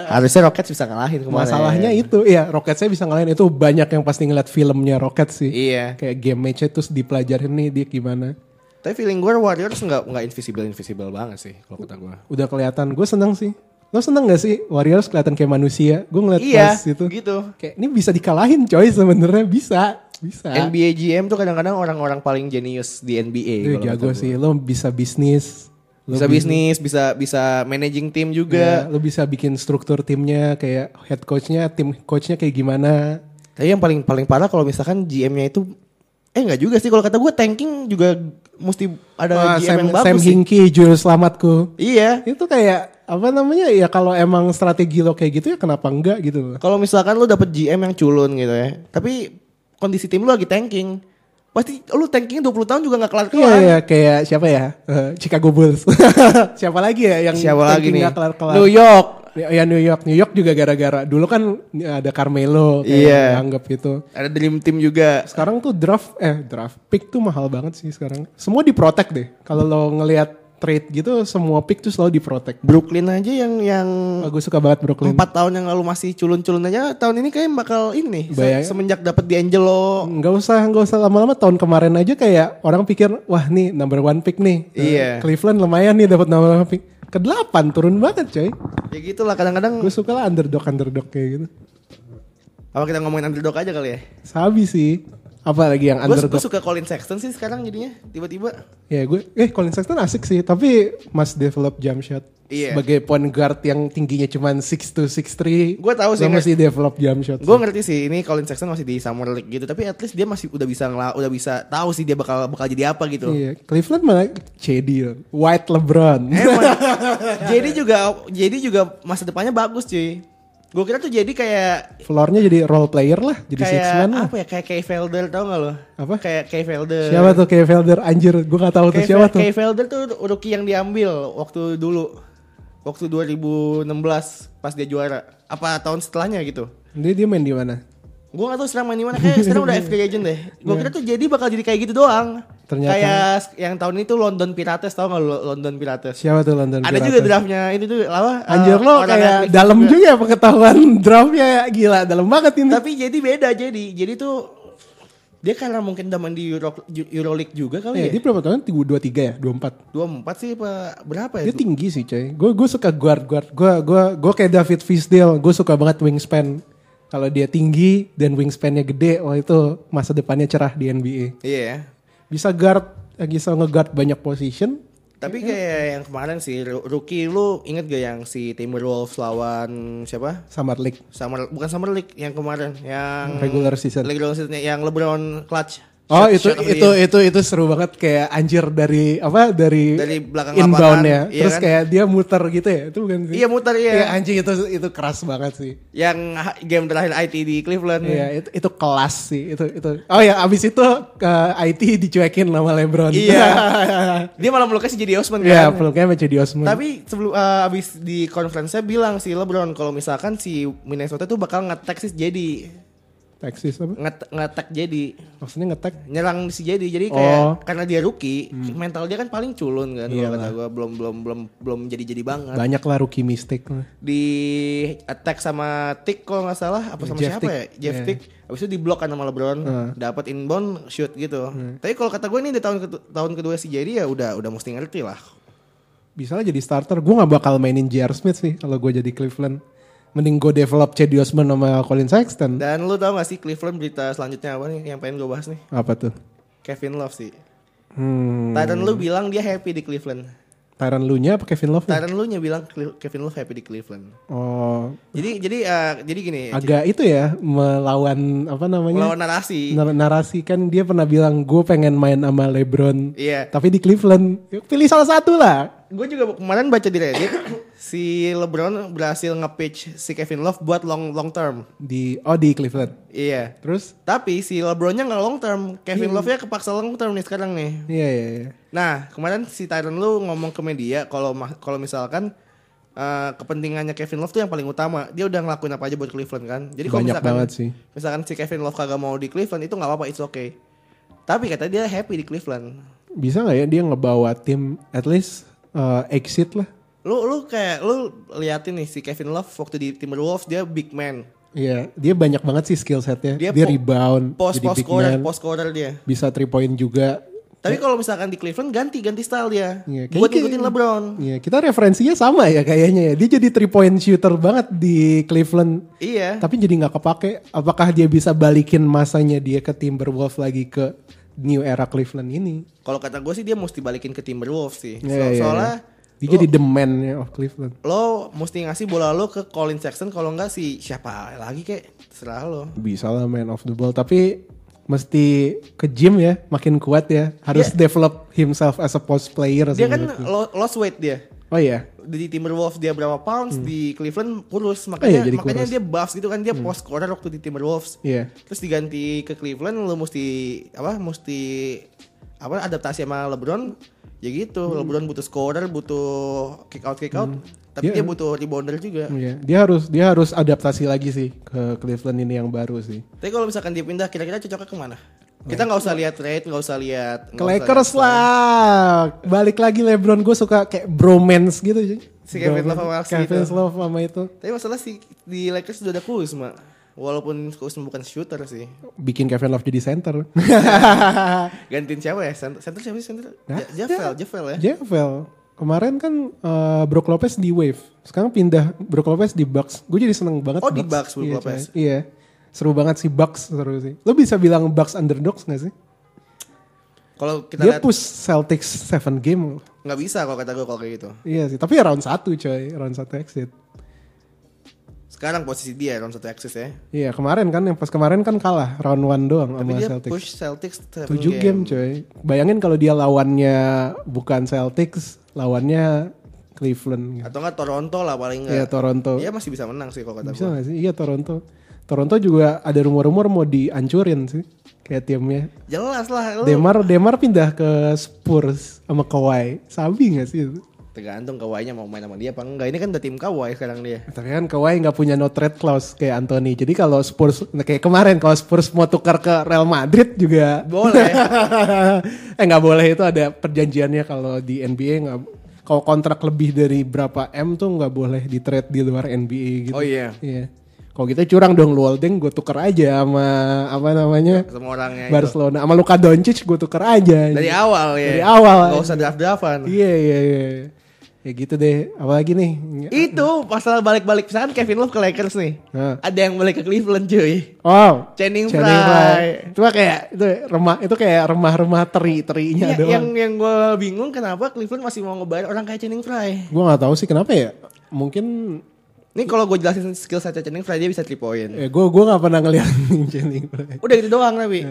Harusnya Rockets bisa ngalahin kemarin.
Masalahnya itu, ya Rockets saya bisa ngalahin itu banyak yang pasti ngeliat filmnya Rockets sih.
Iya.
Kayak game match terus dipelajarin nih dia gimana.
Tapi feeling gue Warriors nggak nggak invisible invisible banget sih kalau kata gue.
Udah kelihatan, gue seneng sih. Lo seneng gak sih Warriors kelihatan kayak manusia? Gue ngeliat
Iya,
pas itu.
gitu.
Kayak ini bisa dikalahin coy sebenarnya bisa. Bisa.
NBA GM tuh kadang-kadang orang-orang paling jenius di NBA.
Itu
kalau kata
jago
gua.
sih. Lo bisa bisnis. Lo
Bisa bisnis, bisa bisa managing tim juga.
Ya, lo bisa bikin struktur timnya kayak head coachnya, tim coachnya kayak gimana.
Tapi yang paling paling parah kalau misalkan GM-nya itu eh nggak juga sih kalau kata gue tanking juga mesti ada
Wah,
GM
Ah, Sam,
yang bagus
Sam
sih.
Hinkie, juru selamatku.
Iya.
Itu kayak apa namanya ya kalau emang strategi lo kayak gitu ya kenapa enggak gitu loh.
Kalau misalkan lu dapet GM yang culun gitu ya, tapi kondisi tim lu lagi tanking, pasti lu tanking 20 tahun juga nggak
Iya
kelar-kelar.
ya kayak siapa ya? Eh, Chicago Bulls. siapa lagi ya yang
Siapa lagi
tanking
nih?
nggak kelar-kelar?
New York.
Ya New York, New York juga gara-gara dulu kan ada Carmelo kayak gitu.
Iya.
anggap itu.
Ada dream team juga.
Sekarang tuh draft eh draft pick tuh mahal banget sih sekarang. Semua diprotek deh. Kalau lo ngelihat trade gitu semua pick tuh selalu diprotek.
Brooklyn aja yang yang
Oh, gue suka banget Brooklyn.
empat tahun yang lalu masih culun-culun aja, tahun ini kayak bakal ini nih. se-
Bayangin.
semenjak dapet D'Angelo.
Nggak usah, nggak usah lama-lama tahun kemarin aja kayak orang pikir, wah nih number one pick nih. Eh,
Iya.
Cleveland lumayan nih dapat number one pick. Ke delapan turun banget coy.
Ya gitulah kadang-kadang.
Gue suka lah underdog-underdog kayak gitu.
Apa kita ngomongin underdog aja kali ya?
Sabi sih. Apalagi yang underdog.
Gue suka Colin Sexton sih sekarang jadinya tiba-tiba.
Ya gue, eh Colin Sexton asik sih, tapi must develop jump shot.
Iya.
Sebagai point guard yang tingginya cuman 6 to 6'3.
Gue tahu sih,
Lo
nggak-
mesti develop jump shot.
Gue ngerti sih ini Colin Sexton masih di summer league gitu, tapi at least dia masih udah bisa ngela, udah bisa tahu sih dia bakal bakal jadi apa gitu.
Iya, Cleveland malah CD, White LeBron.
Emang.
Iya.
jadi juga jadi juga masa depannya bagus cuy. Gue kira tuh jadi kayak
Floornya jadi role player lah, jadi six
kayak
man lah.
apa ya kayak Kay Felder tau gak lo?
Apa?
Kayak Kay Felder.
Siapa tuh kayak Felder anjir, gue gak tahu tuh
Kay,
siapa
Fel-
tuh.
Kay Felder tuh rookie yang diambil waktu dulu. Waktu 2016 pas dia juara. Apa tahun setelahnya gitu.
Dia dia main di mana?
Gue gak tau sekarang main di mana kayak sekarang udah FK Legend deh. Gue kira tuh jadi bakal jadi kayak gitu doang.
Iya. Ternyata-
kayak yang tahun ini tuh London Pirates tau gak lu London Pirates?
Siapa tuh London
Ada
Pirates?
juga draftnya itu tuh apa?
Anjir
eh,
lo
orang
kayak
Netflix
dalam
juga.
juga ya pengetahuan draftnya ya, gila dalam banget ini.
Tapi jadi beda jadi jadi tuh dia karena mungkin udah main di Euro, Euroleague juga
ya,
kali
dia
ya.
berapa tahun? 23 ya? 24.
24 sih apa berapa ya?
Dia tinggi sih coy. Gue gue suka guard guard. Gue gue gue kayak David Fisdale. Gue suka banget wingspan. Kalau dia tinggi dan wingspannya gede, wah itu masa depannya cerah di NBA.
Iya.
Bisa guard, eh, bisa ngeguard banyak position. Iya.
Tapi kayak yang kemarin sih ru- rookie lu inget gak yang si Timberwolves lawan siapa?
Summer League,
Summer bukan Summer League yang kemarin yang
Hmm. regular season.
regular season yang LeBron clutch.
Oh
Shot-
itu
shot of the
itu
year.
itu itu seru banget kayak anjir dari apa dari
Dari belakang
inbound ya.
lapangan, iya
Terus
kan?
kayak dia muter gitu ya. Itu bukan sih?
Iya muter iya.
Iya, anjing itu itu keras banget sih.
Yang ha- game terakhir IT di Cleveland.
Iya, itu, itu kelas sih. Itu itu. Oh ya, abis itu ke IT dicuekin sama LeBron.
Iya. Dia malah melukis jadi Osman
Iya,
kan.
peluknya sama Cedi Osman.
Tapi sebelum eh, abis di conference-nya bilang si LeBron kalau misalkan si Minnesota tuh bakal ngetek si jadi
Texas apa?
Nget- ngetek jadi
Maksudnya ngetek.
nyerang si jadi jadi kayak
Oh. Hmm. Iya.
karena dia rookie mental dia kan paling culun kan kalau
Iyalah.
kata gua belum belum belum belum jadi jadi banget
Banyak lah rookie mistake. lah.
di attack sama Tick kalau nggak salah apa sama siapa
Jeff Tick.
ya Jeff
Iya.
Tick habis itu diblok kan sama LeBron dapat inbound shoot gitu
Iya.
tapi kalau kata gue ini di tahun ketu- tahun kedua si Jerry ya udah udah mesti ngerti lah
Bisa lah jadi starter. Gue gak bakal mainin J.R. Smith sih kalau gue jadi Cleveland. Mending gue develop Cedi Osman sama Colin Sexton.
dan lu tau gak sih Cleveland berita selanjutnya apa nih yang pengen gue bahas nih
Apa tuh?
Kevin Love sih
Hmm,
Tyron lu bilang dia happy di Cleveland
Tyron Lunya apa Kevin Love?
Tyron lu nya bilang Cle- Kevin Love happy di Cleveland
Oh,
jadi jadi eh, jadi gini
agak itu ya melawan apa namanya?
melawan narasi
Nar- narasi kan dia pernah bilang gue pengen main sama LeBron.
iya
Tapi di Cleveland, Yuk, pilih salah satu lah.
Gue juga kemarin baca di Reddit si LeBron berhasil nge-pitch si Kevin Love buat long long term.
Di oh di Cleveland.
Iya.
Terus?
Tapi si LeBronnya nggak long term, Kevin Love-nya kepaksa long term nih sekarang nih.
Iya iya. iya.
Nah, kemarin si Tyron lu ngomong ke media kalau ma- kalau misalkan eh, kepentingannya Kevin Love tuh yang paling utama. Dia udah ngelakuin apa aja buat Cleveland kan. Jadi kalau
Banyak
misalkan
banget sih.
misalkan si Kevin Love kagak mau di Cleveland itu nggak apa-apa, it's okay. Tapi katanya dia happy di Cleveland.
Bisa nggak ya dia ngebawa tim at least uh, exit lah?
Lu lu kayak lu liatin nih si Kevin Love waktu di Timberwolves dia big man.
Iya, dia banyak banget sih skill setnya. Dia,
Dia po-
rebound,
Post
jadi
post
big
scorer,
man,
post scorer dia.
bisa three point juga.
Tapi kalau misalkan di Cleveland ganti ganti style dia.
Iya, kayak-
Buat ngikutin LeBron.
Iya, kita referensinya sama ya kayaknya ya. Dia jadi three point shooter banget di Cleveland.
Iya.
Tapi jadi nggak kepake. Apakah dia bisa balikin masanya dia ke Timberwolves lagi ke new era Cleveland ini?
Kalau kata gue sih dia mesti balikin ke Timberwolves sih.
Iya,
So-
iya,
Gitu. soalnya
iya. dia jadi the man-nya of Cleveland.
lo mesti ngasih bola lo ke Colin Sexton kalau enggak si siapa lagi kek terserah lo.
Bisa lah man of the ball. Tapi mesti ke gym ya, makin kuat ya. Harus develop himself as a post player. sih
Iya. Dia kan
menurut gue.
lo- lost weight dia.
oh iya.
Di Timberwolves dia berapa pounds, di Cleveland kurus
Hmm.
makanya
iya, jadi
makanya
kurus. Hmm.
dia buff gitu kan dia post scorer waktu di Timberwolves.
Iya.
Terus diganti ke Cleveland lo mesti apa mesti apa adaptasi sama LeBron ya gitu.
Hmm.
LeBron butuh scorer, butuh kick out kick out, tapi
Iya.
dia butuh rebounder juga.
Iya. Dia harus dia harus adaptasi lagi sih ke Cleveland ini yang baru sih.
Tapi kalau misalkan dia pindah kira-kira cocoknya kemana? Kita nggak usah lihat trade, nggak usah lihat nggak
Ke
usah
Lakers
lihat-
lah. Balik lagi LeBron gue suka kayak bromance gitu.
Si Kevin Love sama
Bromance.
si itu.
Kevin Love sama itu.
Tapi masalah sih di Lakers sudah ada Kuzma. Walaupun Kuzma bukan shooter sih.
bikin Kevin Love jadi center.
Gantiin siapa ya? Center, center siapa sih center?
Hah?
Ja- Javel, Javel ya.
Javel. Kemarin kan eh, Brook Lopez di Wave. Sekarang pindah Brook Lopez di Bucks. Gue jadi seneng banget.
Oh, di Bucks Brook
Iya,
Lopez.
coy. Iya. Seru banget sih Bucks seru sih. Lo bisa bilang Bucks underdogs gak sih?
Kalau kita lihat
Dia push Celtics 7 game. loh.
nggak bisa kalau kata gue kalau kayak gitu.
Iya sih. Tapi round 1 coy. Round 1 exit.
Sekarang posisi dia round satu axis ya.
Iya kemarin kan. Yang pas kemarin kan kalah. Round 1 doang
Tapi
sama
dia
Celtics.
push Celtics 7
7 game. coy. Bayangin kalau dia lawannya bukan Celtics. Lawannya Cleveland. gitu.
Atau nggak Toronto lah paling
Iya
nggak.
Toronto.
Dia masih bisa menang sih kalau kata
Bisa
gue.
gak sih? Iya Toronto. Toronto juga ada rumor-rumor mau dihancurin sih. Kayak timnya.
Jelas lah lu.
Demar Demar pindah ke Spurs sama Kawhi. Sabi gak sih? itu?
Tergantung kawainya mau main sama dia apa enggak. Ini kan udah tim kawai sekarang dia.
Tapi kan Kawhi nggak punya no trade clause kayak Anthony. Jadi kalau Spurs nah, kayak kemarin kalau Spurs mau tukar ke Real Madrid juga
Boleh.
eh nggak boleh itu ada perjanjiannya kalau di NBA nggak kalau kontrak lebih dari berapa M tuh nggak boleh di trade di luar NBA gitu.
Oh iya.
Iya. Kalau kita curang dong lu Holding gue tuker aja sama apa namanya?
Semua orangnya itu.
Barcelona sama Luka Doncic gue tuker aja.
Dari awal ya.
Dari awal.
Gak usah draft-draftan.
Iya iya iya. Ya gitu deh. Apalagi nih?
Itu masalah balik-balik misalkan Kevin Love ke Lakers nih.
Nah.
Ada yang balik ke Cleveland cuy.
Oh,
Channing
Channing
Frye.
Itu mah kayak itu remah itu kayak remah-remah teri-terinya
Ya,
doang.
yang yang gue bingung kenapa Cleveland masih mau ngebayar orang kayak Channing Frye.
Gue nggak tahu sih kenapa ya. Mungkin
Ini kalau gue jelasin skill
Iya. ya
set Channing Frye dia bisa 3 point.
eh, gue gua nggak pernah ngeliat Channing Frye.
Udah gitu doang tapi.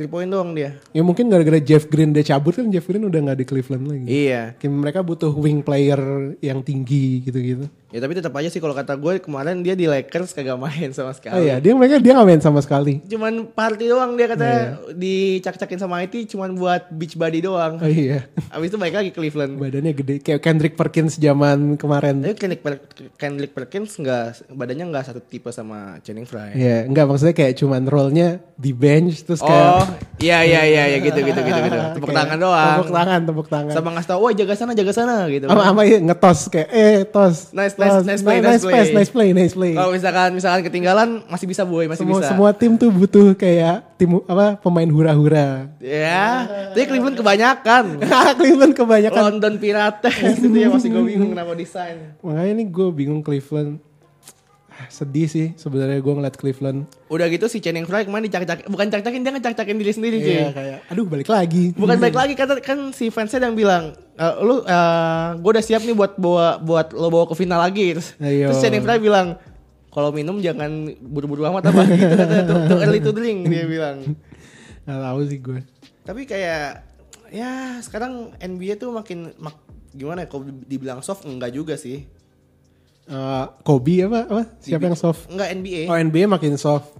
3 point doang dia.
Ya mungkin gara-gara Jeff Green dia cabut kan Jeff Green udah nggak di Cleveland lagi.
Iya.
Kayak mereka butuh wing player yang tinggi gitu-gitu.
Ya tapi tetap aja sih kalau kata gue kemarin dia di Lakers kagak main sama
Oh
sekali.
iya, dia mereka dia nggak main sama sekali.
Cuman party doang dia
Iya.
katanya dicak-cakin sama IT cuman buat beach body doang.
Oh iya,
Abis itu balik lagi ke Cleveland.
badannya gede kayak Kendrick Perkins zaman kemarin.
Tapi Kendrick, Per- Kendrick Perkins nggak badannya nggak satu tipe sama Channing Frye.
Iya, nggak maksudnya kayak cuman role-nya di bench terus
Oh,
kayak
iya iya iya ya, gitu gitu gitu gitu. Tepuk
kayak
tangan doang.
Tepuk tangan, tepuk tangan.
Sama ngasih tau, "Woi, jaga sana, jaga sana" gitu.
Sama sama iya, ngetos kayak eh tos.
Nice,
tos,
nice, nice play,
nice,
nice
pass,
play.
nice play, nice play.
Kalau misalkan misalkan ketinggalan masih bisa boy, masih
semua
bisa.
semua tim tuh butuh kayak tim apa pemain hura-hura.
Ya, tapi Cleveland kebanyakan.
Cleveland kebanyakan
London Pirates Ya kan? itu ya masih gue bingung kenapa desain.
Makanya ini gue bingung Cleveland. Ah, Sedih sih sebenarnya gue ngeliat Cleveland.
Udah gitu si Channing Frye kemarin dicak-cakin, bukan cak-cakin dia ngecak-cakin diri sendiri cuy.
Iya, kayak aduh balik lagi. Iya.
Bukan baik lagi kata kan si fansnya yang bilang "Eh, lu gue udah siap nih buat bawa buat lo bawa ke final lagi terus,
Ayo.
terus Channing Frye bilang kalau minum jangan buru-buru amat apa gitu katanya tuh too early to drink dia bilang
Nggak tahu sih gue.
tapi kayak ya sekarang NBA tuh makin mak, gimana ya kalau dibilang soft enggak juga sih
Eh, Kobe apa, apa? Siapa yang soft?
enggak NBA
Oh NBA makin soft.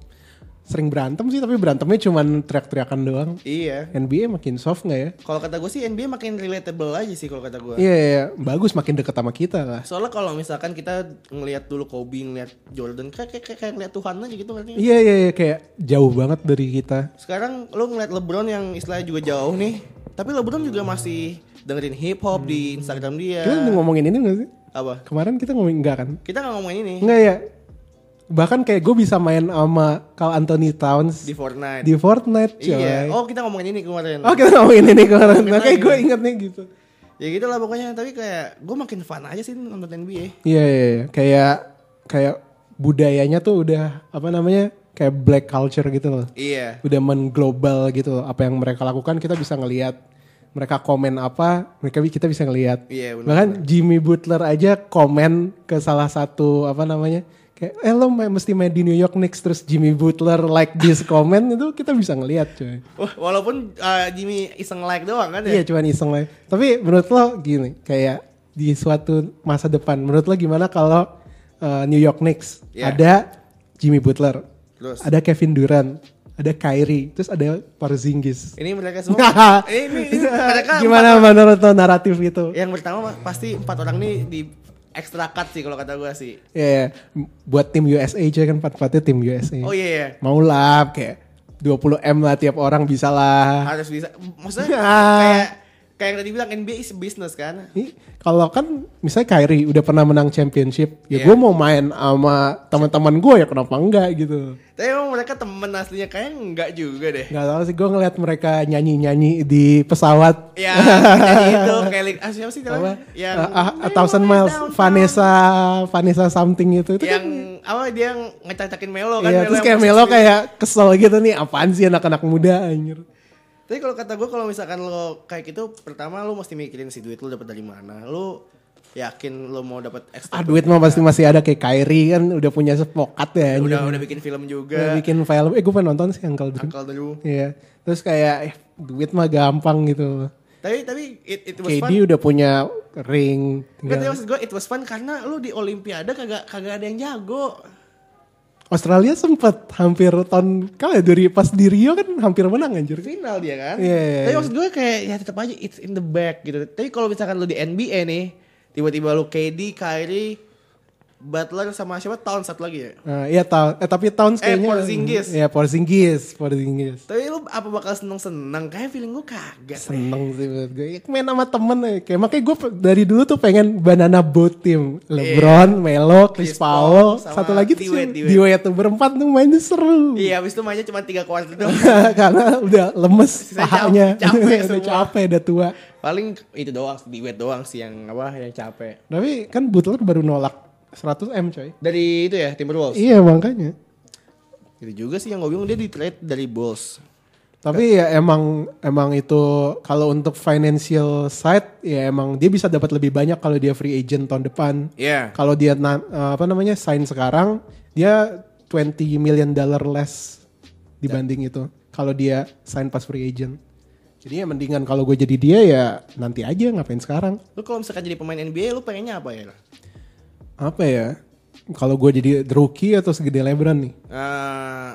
Sering berantem sih tapi berantemnya cuman teriak-teriakan doang.
iya
NBA makin soft nggak ya?
kalau kata gue sih NBA makin relatable aja sih kalau kata gue
Iya, iya, iya. bagus makin deket sama kita lah.
soalnya kalau misalkan kita ngelihat dulu Kobe ngelihat Jordan kayak kayak kayak, kayak ngelihat Tuhan aja gitu kan
Iya, iya, iya, kayak jauh banget dari kita.
sekarang lu ngeliat LeBron yang istilahnya juga jauh nih tapi LeBron juga masih dengerin hip hop di
Hmm.
Instagram dia
Kita ngomongin ini nggak sih?
apa
Kemarin kita ngomongin enggak kan?
kita nggak ngomongin ini
Enggak ya. Bahkan kayak gue bisa main sama Carl Anthony Towns
di Fortnite
di Fortnite Iya. coy.
iya oh kita ngomongin ini kemarin
Oh kita ngomongin ini kemarin. Makanya gue inget nih gitu.
ya gitu lah pokoknya tapi kayak gue makin fun aja sih nonton NBA
Iya iya iya. Kayak kayak budayanya tuh udah apa namanya kayak black culture gitu loh.
iya
Udah mengglobal gitu loh. Apa yang mereka lakukan kita bisa ngelihat mereka komen apa mereka kita bisa ngelihat.
Iya, benar.
Bahkan Jimmy Butler aja komen ke salah satu apa namanya kayak eh lo ma- mesti main di New York Knicks terus Jimmy Butler like this comment itu kita bisa ngelihat coy.
Wah, walaupun uh, Jimmy iseng like doang kan ya
Iya cuman iseng lah. Tapi menurut lo gini, kayak di suatu masa depan, menurut lo gimana kalau uh, New York Knicks
Iya.
ada Jimmy Butler,
Terus?
ada Kevin Durant, ada Kyrie, terus ada Porzingis.
ini mereka semua ini, ini mereka
gimana
empat-
menurut lo naratif gitu? itu?
yang pertama pasti empat orang ini di extra cut sih kalau kata gue sih
Ya, buat tim USA aja kan empat-empatnya tim USA.
oh iya iya.
Mau lah kayak 20 M lah tiap orang bisa lah.
harus bisa maksudnya
Ah.
kayak kayak yang tadi bilang NBA is business kan
Ini kalau kan misalnya Kyrie udah pernah menang championship,
Iya.
ya gue mau main sama teman-teman gue ya kenapa enggak gitu.
tapi emang mereka temen aslinya kayak enggak juga deh
Gak tau sih gue ngeliat mereka nyanyi-nyanyi di pesawat
ya jadi itu kayak li- ah, siapa sih
apa?
namanya yang
uh, uh, A Thousand Miles, Vanessa, Vanessa something itu. itu
yang
kan-
apa dia yang ngecak-cakin Melo kan
Iya,
yang
terus kayak
posisi
Melo
sendiri.
kayak kesel gitu nih apaan sih anak-anak muda anjir.
Tapi kalau kata gue kalau misalkan lo kayak gitu, pertama lo mesti mikirin si duit lo dapat dari mana. Lo yakin lo mau dapat
Ah
ekstra
duit mah pasti masih ada kayak Kyrie kan udah punya sepokat ya anjir.
udah udah bikin film
Udah
juga.
bikin film. Eh gue pengen nonton sih Uncle Drew.
Uncle Drew.
Iya. Terus kayak eh, duit mah gampang gitu.
Tapi tapi it, it was
KD
fun.
udah punya ring.
Nggak, tapi
Tinggal.
maksud gue it was fun karena lo di Olimpiade kagak kagak ada yang jago.
Australia sempet hampir tahun kali ya, dari pas di Rio kan hampir menang anjir.
Final dia kan.
Iya, iya,
Tapi
iya.
maksud gue kayak ya tetap aja it's in the bag gitu. Tapi kalau misalkan lo di NBA nih, tiba-tiba lo KD, Kyrie, Butler sama siapa tahun satu lagi ya.
Nah, iya tahun eh tapi tahun kayaknya.
Porzingis.
Iya Porzingis, Porzingis.
Tapi lo apa bakal seneng-seneng? Kayak feeling gue kagak.
Seneng sih menurut gue. Ya, Main sama temen ya. Kayak makanya gue pe- dari dulu tuh pengen banana boat team. LeBron, Melo, Chris,
Iya. Chris
Paul,
Paul, sama
satu lagi tuh
Dwayne,
si-
Dwayne.
Dwayne tuh berempat tuh mainnya seru.
Iya, abis itu mainnya cuma tiga quarter doang.
Karena udah lemes
Sisanya
pahanya.
capek
udah
semua.
capek, udah tua.
Paling itu doang, di wet doang sih yang apa yang capek.
Tapi kan Butler baru nolak 100 M coy.
Dari itu ya Timberwolves.
Iya makanya.
Itu Gitu juga sih yang gue bingung dia di trade dari Bulls.
Tapi ya emang emang itu kalau untuk financial side ya emang dia bisa dapat lebih banyak kalau dia free agent tahun depan.
Iya.
Kalau dia eh, na- apa namanya sign sekarang dia 20 million dollar less di dibanding itu kalau dia sign pas free agent. Jadi ya mendingan kalau gue jadi dia ya nanti aja ngapain sekarang.
Lu kalau misalkan jadi pemain NBA lu pengennya apa ya?
Apa ya? Kalau gue jadi the rookie atau segede LeBron nih?
Eh,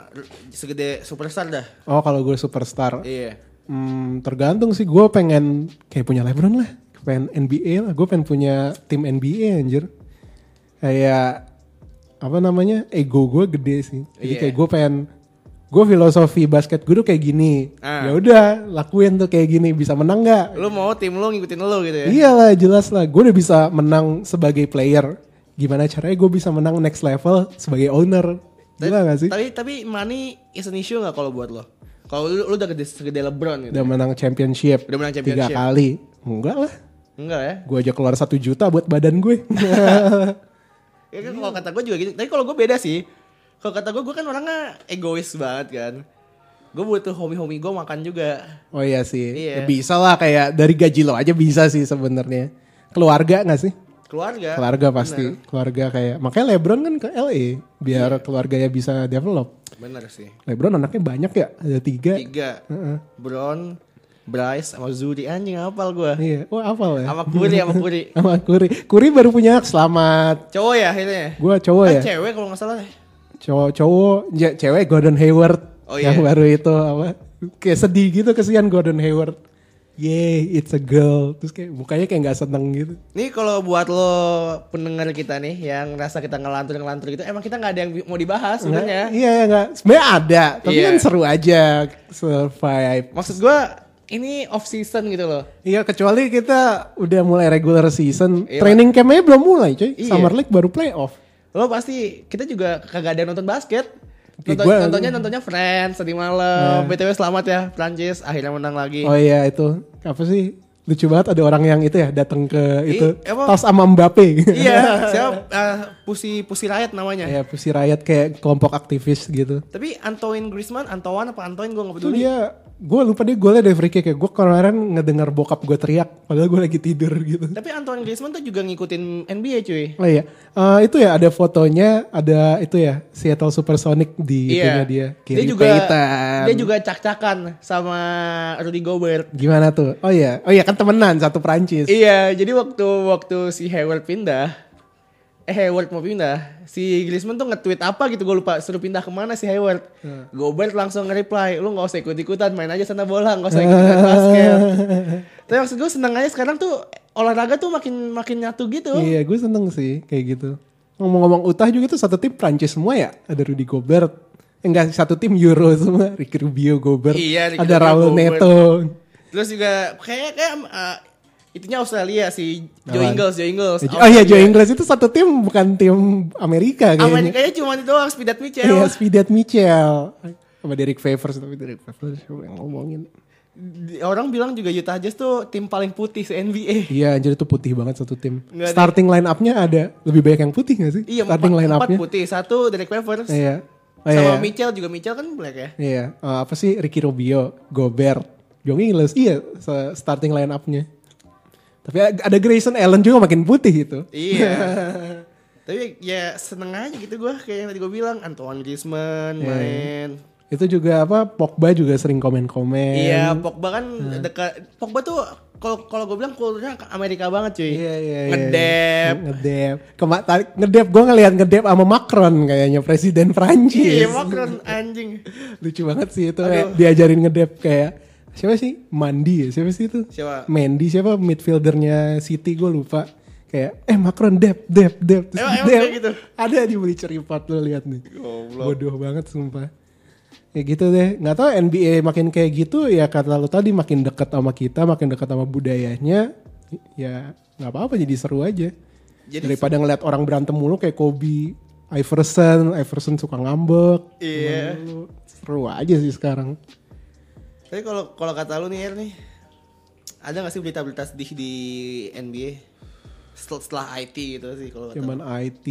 segede superstar dah.
Oh kalau gue superstar.
Iya.
Hmm, tergantung sih gue pengen kayak punya LeBron lah, pengen NBA lah, gue pengen punya tim NBA anjir. Kayak apa namanya ego gue gede sih, jadi
Iya.
kayak gue pengen gue filosofi basket gue tuh kayak gini,
Ah.
ya udah lakuin tuh kayak gini bisa menang nggak?
Lu mau tim lu ngikutin lu gitu ya.
Iyalah jelas lah, gue udah bisa menang sebagai player. Gimana caranya gue bisa menang next level sebagai owner? Gila gak sih?
Tapi tapi money is an issue nggak kalau buat lo? Kalau lu, lu udah gede segede LeBron gitu.
Udah menang championship,
Udah menang
tiga
championship.
kali, enggak lah.
Enggak ya?
Gue aja keluar satu juta buat badan gue.
Ya kan kalau kata gue juga gitu. Tapi kalau gue beda sih. Kalau kata gue, gue kan orangnya egois banget kan. Gue butuh homi-homi gue makan juga.
oh iya sih.
Iya.
Ya bisa lah kayak dari gaji lo aja bisa sih sebenarnya. Keluarga gak sih?
Keluarga.
Keluarga pasti. Keluarga kayak makanya LeBron kan ke LA biar keluarganya bisa develop.
Bener sih.
LeBron anaknya banyak ya, ada
Iya.
tiga.
Tiga.
Heeh.
Brown, Bryce, sama Zuri. Anjing apal gue.
Iya, wah hafal ya.
Sama Kuri, sama Kuri.
Sama Kuri. Kuri baru punya anak, selamat.
Cowok ya akhirnya.
Gua cowok
Ah,
ya.
Cewek kalau nggak salah.
Cowok cowok ya, cewek Gordon Hayward
Oh,
yang
iya.
baru itu apa kayak sedih gitu kesian Gordon Hayward. Yay, it's a girl. Terus kayak mukanya kayak nggak seneng gitu.
Nih kalau buat lo pendengar kita nih yang rasa kita ngelantur-ngelantur gitu, emang kita nggak ada yang bi- mau dibahas
Iya,
sebenarnya.
iya enggak. Sebenarnya ada, tapi
ya? Iya.
kan seru aja survive.
Maksud gua ini off season gitu loh.
Iya, kecuali kita udah mulai regular season.
Iya.
Training campnya belum mulai, coy.
Iya.
Summer League baru playoff.
Lo pasti kita juga kagak ada yang nonton basket.
Ih,
Nonton,
gua- Nah.
nontonnya nontonnya Friends tadi malam. BTW selamat ya Prancis akhirnya menang lagi.
Oh iya itu. Apa sih? Lucu banget ada orang yang itu ya datang ke
Ih,
itu
emang-
tas sama Mbappe.
iya, siapa eh, pusi pusi rakyat namanya.
ya, pusi rakyat kayak kelompok aktivis gitu.
Tapi Antoine Griezmann, Antoine apa Antoine gua nggak
Itu
peduli.
dia gue iya. lupa dia golnya dari free kick ya. Gue kemarin ngedengar bokap gue teriak padahal gue lagi tidur gitu.
Tapi Antoine Griezmann tuh juga ngikutin NBA cuy.
Oh iya, Eh, itu ya ada fotonya, ada itu ya Seattle Supersonic di itunya
Iya.
dia.
Dia
Gary
juga
Payton.
dia juga cak-cakan sama Rudy Gobert.
gimana tuh? Oh iya, oh iya kan temenan satu Prancis.
Iya, jadi waktu waktu si Hayward pindah, eh Hayward mau pindah, si Griezmann tuh nge-tweet apa gitu gue lupa suruh pindah kemana si Hayward. Gobert langsung nge-reply, lu nggak usah ikut ikutan, main aja sana bola, nggak usah ikut basket. Tapi maksud gue seneng aja sekarang tuh olahraga tuh makin makin nyatu gitu.
Iya, gue seneng sih kayak gitu. Ngomong-ngomong Utah juga tuh satu tim Prancis semua ya. Ada Rudy Gobert. Eh, Enggak, satu tim Euro semua. Ricky Rubio, Gobert.
Iya, Ricky
ada
Rubio,
Raul
Gobert.
Neto.
Terus juga kayak kayak eh, itunya Australia si Joe
Lawan.
Ingles, Joe Ingles.
Oh iya, Joe
Australia.
Ingles itu satu tim bukan tim Amerika kayaknya.
Amerikanya cuma itu doang, Spidat Mitchell.
Iya, Spidat Mitchell. Sama Derek Favors, tapi Derek Favors siapa yang ngomongin.
Di- Orang bilang juga Utah Jazz tuh tim paling putih se NBA.
Iya, anjir itu putih banget satu tim.
Nggak ada-
Starting line up-nya ada lebih banyak yang putih gak sih?
Iya,
Starting
empat,
line
empat
up-nya.
putih. Satu Derek Favors.
Iya. Oh,
sama
iya.
Mitchell juga Mitchell kan black ya.
Iya, eh, apa sih Ricky Rubio, Gobert, Joe Ingles, iya se- starting line up-nya. Tapi ag- ada Grayson Allen juga makin putih itu.
Iya. Tapi ya seneng aja gitu gua kayak yang tadi gua bilang Antoine Griezmann
Iya.
main.
Itu juga apa Pogba juga sering komen-komen.
Iya, Pogba kan dekat Pogba tuh kalau kalau gue bilang kulturnya Amerika banget cuy.
Iya, iya, iya.
Ngedep.
Ngedep. Kema- tadi- ngedep gue ngelihat ngedep sama Macron kayaknya presiden Prancis.
Iya, Macron anjing.
Lucu banget sih itu kayak diajarin ngedep kayak siapa sih? Mandi ya, siapa sih itu?
Siapa?
Mandy siapa midfieldernya City gue lupa kayak eh Macron dep dep dep Terus
Emang- emang
dep.
kayak gitu?
ada di Bleacher Report lo lihat nih
Goblok.
bodoh banget sumpah ya gitu deh nggak tahu NBA makin kayak gitu ya kata lo tadi makin dekat sama kita makin dekat sama budayanya ya nggak apa-apa jadi seru aja
Jadi
daripada ngeliat orang berantem mulu kayak Kobe Iverson Iverson suka ngambek
Iya.
Mulu. seru aja sih sekarang
Tapi kalau kalau kata lu nih Er nih, ada nggak sih berita-berita sedih di NBA setelah, setelah IT gitu sih kalau kata lu?
Cuman IT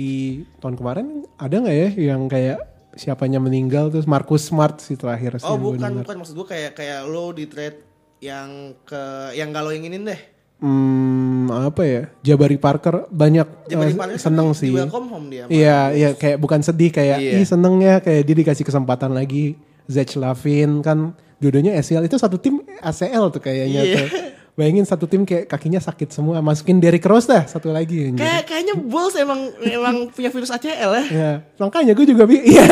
tahun kemarin ada nggak ya yang kayak siapanya meninggal terus Marcus Smart sih terakhir sih
Oh
yang gua
bukan
dengar.
bukan maksud gue kayak kayak lo di trade yang ke yang gak lo inginin deh.
Hmm, apa ya? Jabari Parker banyak
Jabari
eh,
Parker
seneng
kan
sih.
Di welcome home dia.
Iya, iya kayak iya, bukan sedih kayak
Iya.
ih seneng ya kayak dia dikasih kesempatan lagi. Zach Lavin kan dua-duanya ACL itu satu tim ACL tuh kayaknya
Iya.
tuh. Bayangin satu tim kayak kakinya sakit semua masukin Derrick Rose dah satu lagi anjir.
Kayak kayaknya Bulls emang emang punya virus ACL ya.
Ya, makanya gue juga bi- iya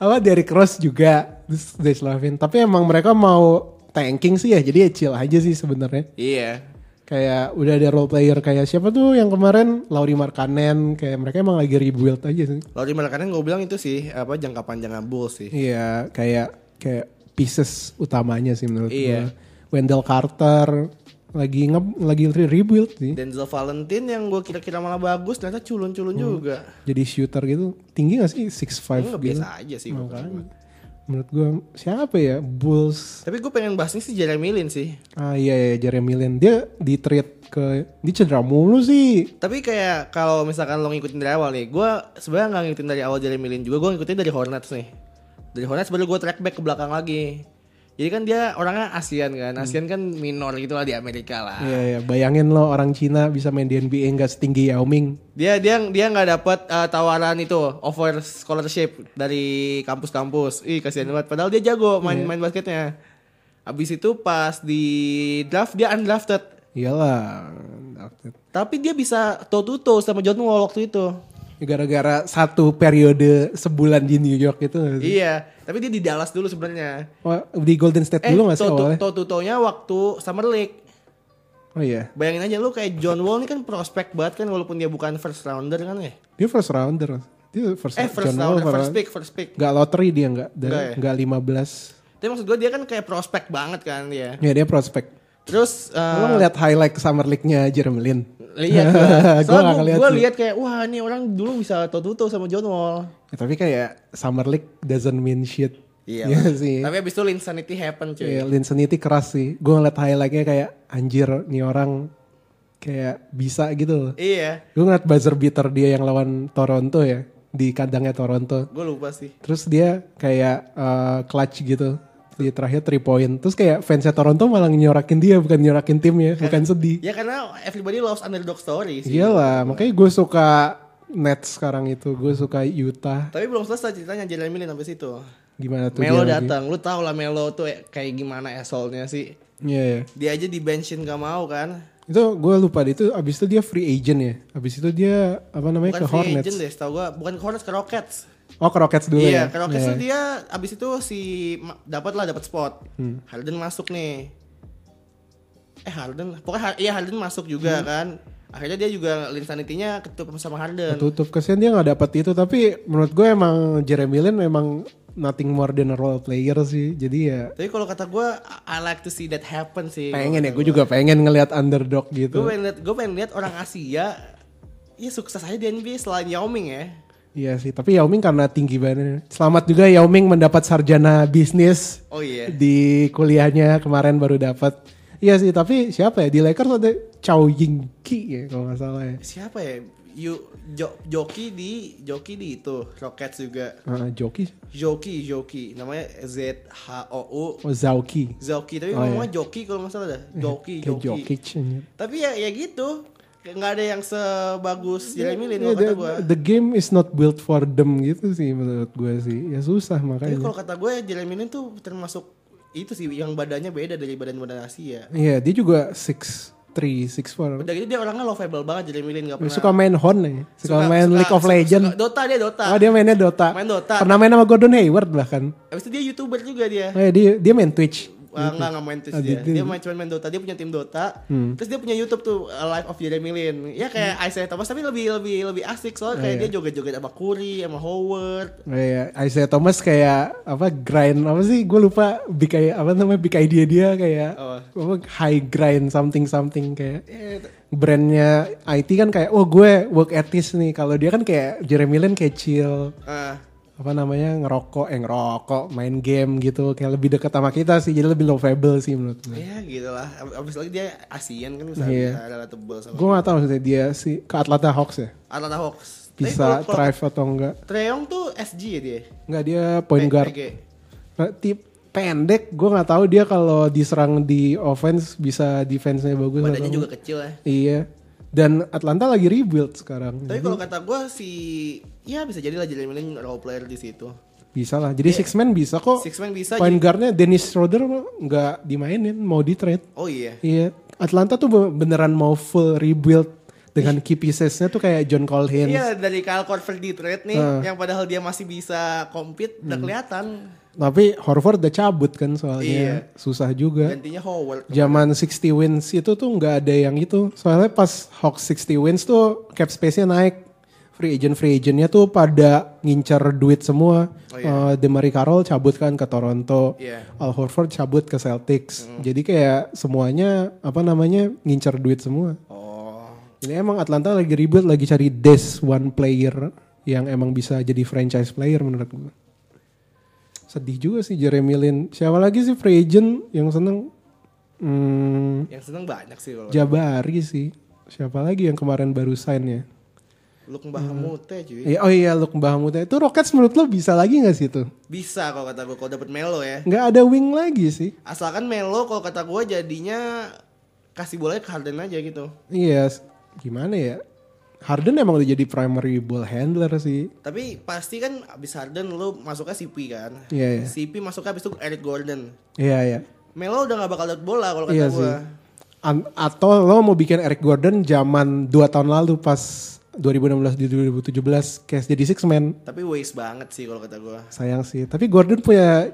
apa Derrick Rose juga terus Zach Lavin. Tapi emang mereka mau tanking sih ya. Jadi ya chill aja sih sebenarnya.
Iya.
Kayak udah ada role player kayak siapa tuh yang kemarin Lauri Markkanen kayak mereka emang lagi rebuild aja sih.
Lauri Markkanen gue kan bilang itu sih apa jangka panjangnya Bulls sih.
Iya, kayak kayak pieces utamanya sih menurut
Iya.
gue. Wendell Carter lagi nge lagi re- rebuild sih.
Denzel Valentine yang gue kira-kira malah bagus ternyata culun-culun
Hmm.
juga.
Jadi shooter gitu. Tinggi gak sih
Enggak
6'5 gitu?
biasa aja sih. gua.
Makanya. Menurut gue siapa ya? Bulls
Tapi gue pengen bahas ini sih Jeremy Lin sih.
Ah iya ya Jeremy Lin dia di trade ke dia cedera mulu sih.
Tapi kayak kalau misalkan lo ngikutin dari awal nih, gue sebenarnya nggak ngikutin dari awal Jeremy Lin juga, gue ngikutin dari Hornets nih. Dari Hornets baru gue track back ke belakang lagi. Jadi kan dia orangnya ASEAN kan, ASEAN kan minor gitu lah di Amerika lah.
Iya ya bayangin lo orang Cina bisa main di NBA nggak setinggi Yao Ming.
Dia dia dia nggak dapat eh, tawaran itu offer scholarship dari kampus-kampus. Ih kasihan banget. Padahal dia jago main main basketnya. Abis itu pas di draft dia undrafted.
Iyalah.
Tapi dia bisa toe to toe sama John Wall waktu itu.
Hmm. Gara-gara satu periode sebulan di New York itu. nggak sih?
Iya, tapi dia di Dallas dulu sebenarnya.
Wah, di Golden State
Eh,
dulu nggak sih awalnya?
Toto-totonya waktu Summer League.
Oh iya.
Bayangin aja lu kayak John Wall ini kan prospek banget kan walaupun dia bukan first rounder kan ya.
Dia first rounder. Dia first,
Eh first
John Wall
rounder, first pick, first pick.
Nggak lottery dia nggak
Nggak ya?
dari nggak 15.
Tapi maksud gue dia kan kayak prospek banget kan dia.
Ya dia prospek.
Terus
Lo
eh
ngeliat highlight Summer League-nya Jeremy Lin.
lihat
Gua
gua.
nggak
Soalnya
ngeliat
gue
sih.
lihat kayak wah ini orang dulu bisa Toto sama John Wall.
Ya, tapi kayak Summer League doesn't mean shit.
Iya.
Iya sih.
Tapi abis itu insanity happen cuy.
Iya, Linsanity keras sih. Gue ngeliat highlightnya kayak anjir nih orang kayak bisa gitu loh.
Iya.
Gue ngeliat buzzer beater dia yang lawan Toronto ya di kandangnya Toronto.
Gue lupa sih.
Terus dia kayak eh, clutch gitu di terakhir 3 point. Terus kayak fansnya Toronto malah nyorakin dia bukan nyorakin tim ya, bukan sedih.
Ya karena everybody loves underdog story sih.
Iyalah, makanya gue suka Nets sekarang itu. Gue suka Utah.
Tapi belum selesai ceritanya Jeremy Lin sampai situ.
Gimana tuh
Melo
dia lagi?
datang, lu tau lah Melo tuh kayak gimana asshole-nya sih.
Iya, iya.
Dia aja di benchin gak mau kan.
Itu gue lupa deh, itu abis itu dia free agent ya. Abis itu dia apa namanya
Bukan
ke
free
Hornets.
agent deh, setahu gua. Bukan ke Hornets, ke Rockets.
Oh ke Rockets dulu
Iya,
ya?
ke Rockets
Iya.
tuh dia abis itu si ma- dapat lah dapat spot.
Hmm.
Harden masuk nih. Eh Harden, pokoknya Har- iya Harden masuk juga
Hmm.
kan. Akhirnya dia juga insanity-nya ketutup sama Harden.
Ketutup kesian dia nggak dapat itu tapi menurut gue emang Jeremy Lin memang nothing more than a role player sih. Jadi ya
Tapi kalau kata gua, I I like to see that happen sih.
pengen ya gue juga pengen ngelihat underdog
Iya. Gue
gitu.
pengen lihat, gue pengen lihat orang Asia ya sukses aja di NBA selain Yao Ming ya.
Iya sih, tapi Yao Ming karena tinggi banget. Selamat juga Yao Ming mendapat sarjana bisnis
Oh iya.
di kuliahnya kemarin baru dapat. Iya sih, tapi siapa ya di Lakers ada Chow Ying Ki ya kalau nggak salah ya.
siapa ya Yu, jo, joki di joki di itu Rockets juga
Ah, Joki,
joki joki namanya Z H O U
oh Zauki,
Zoki tapi
Oh, Iya,
ngomongnya joki kalau nggak salah dah joki
kayak
joki
Jokic. anjir.
tapi ya ya gitu Kayak nggak ada yang sebagus Jeremy Lin
Yeah,
kalau kata
Iya, the,
gue
the game is not built for them gitu sih menurut gue sih. Ya susah
tapi
makanya.
kalau kata gue Jeremy Lin tuh termasuk itu sih yang badannya beda dari badan-badan Asia
Iya, dia juga
ya.
6-3, 6-4.
udah gitu dia orangnya lovable banget Jeremy Lin nggak pernah
Suka main Horn ya. Suka, main
suka-
League of
suka-
Legends.
suka- Dota dia Dota
Oh, dia mainnya Dota.
Main Dota.
Pernah main sama Gordon Hayward bahkan.
abis itu dia youtuber juga dia
Oh, ya, dia dia main Twitch.
Wah, enggak enggak Eh, main Twitch
Ah,
dia.
gitu.
Dia main cuma main Dota. Dia punya tim Dota.
Hmm.
Terus dia punya YouTube tuh uh, Life of Jeremy Lin. Ya kayak Isaiah Thomas tapi lebih lebih lebih asik soalnya
iya.
kayak dia joget-joget sama Curry, sama Howard.
Oh, iya. Isaiah Thomas kayak apa grind apa sih? Gue lupa big i- apa namanya big idea dia kayak
Apa?
apa, high grind something something kayak
Eh, t-
brandnya IT kan kayak oh gue work ethics nih kalau dia kan kayak Jeremy Lin kayak chill
ah,
apa namanya ngerokok eh ngerokok main game gitu kayak lebih dekat sama kita sih jadi lebih lovable sih menurut gue
ya gitu lah. Ab- Abis lagi dia Asian kan bisa
Iya.
bisa adalah tebel sama
gue gak tahu sih dia si ke Atlanta Hawks ya
Atlanta Hawks. Tapi
bisa
kalau- kalau
thrive atau enggak
Treyong tuh SG ya dia.
enggak dia point
P-
guard
PG.
Nah, tip pendek gue nggak tahu dia kalau diserang di offense bisa defense-nya bagus
Badannya
atau
juga kecil ya.
iya dan Atlanta lagi rebuild sekarang
Tapi kalau kata gue si ya bisa jadilah Jeremy Lin role player di situ.
Bisa lah. Jadi six man bisa kok.
Six man bisa,
Oh. Point guardnya Dennis Schroeder nggak dimainin, mau di trade.
Oh iya.
Iya. Atlanta tuh be- beneran mau full rebuild dengan key piecesnya tuh kayak John Collins.
Iya dari Kyle Korver di trade nih,
Ah. Hmm.
yang padahal dia masih bisa compete, udah kelihatan.
Tapi Horford udah cabut kan
Iya.
soalnya. Susah juga.
Gantinya Howard.
Zaman 60 wins itu tuh nggak ada yang itu. Soalnya pas Hawks 60 wins tuh cap space-nya naik. Free agent free agentnya tuh pada ngincer duit semua.
Oh,
Eh
iya.
Demari Carroll cabut kan ke Toronto.
Iya.
Al Horford cabut ke Celtics. Jadi kayak semuanya apa namanya ngincer duit semua.
Oh.
Jadi emang Atlanta lagi ribet lagi cari this one player yang emang bisa jadi franchise player menurut gue. Sedih juga sih Jeremy Lin. Siapa lagi sih free agent yang seneng? Hmm,
Yang seneng banyak sih kalau
Jabari sih. Siapa lagi yang kemarin baru sign ya?
Luke Mbahmute cuy.
Eh, Oh iya, Luke Mbahmuta. Itu Rockets menurut lo bisa lagi gak sih itu?
Bisa kalau kata gue kalau dapet Melo ya.
Gak ada wing lagi sih.
Asalkan Melo kalau kata gue jadinya kasih bolanya ke Harden aja gitu.
Iya, s- gimana ya? Harden emang udah jadi primary ball handler sih.
Tapi pasti kan abis Harden lu masuknya CP kan.
Iya, iya.
CP masuknya abis itu Eric Gordon.
Iya, iya.
Melo udah gak bakal dapet bola kalau kata
Iya
gue.
sih. An- atau lo mau bikin Eric Gordon zaman 2 tahun lalu pas 2016 di 2017 case jadi six man.
Tapi waste banget sih kalau kata gue.
Sayang sih. Tapi Gordon punya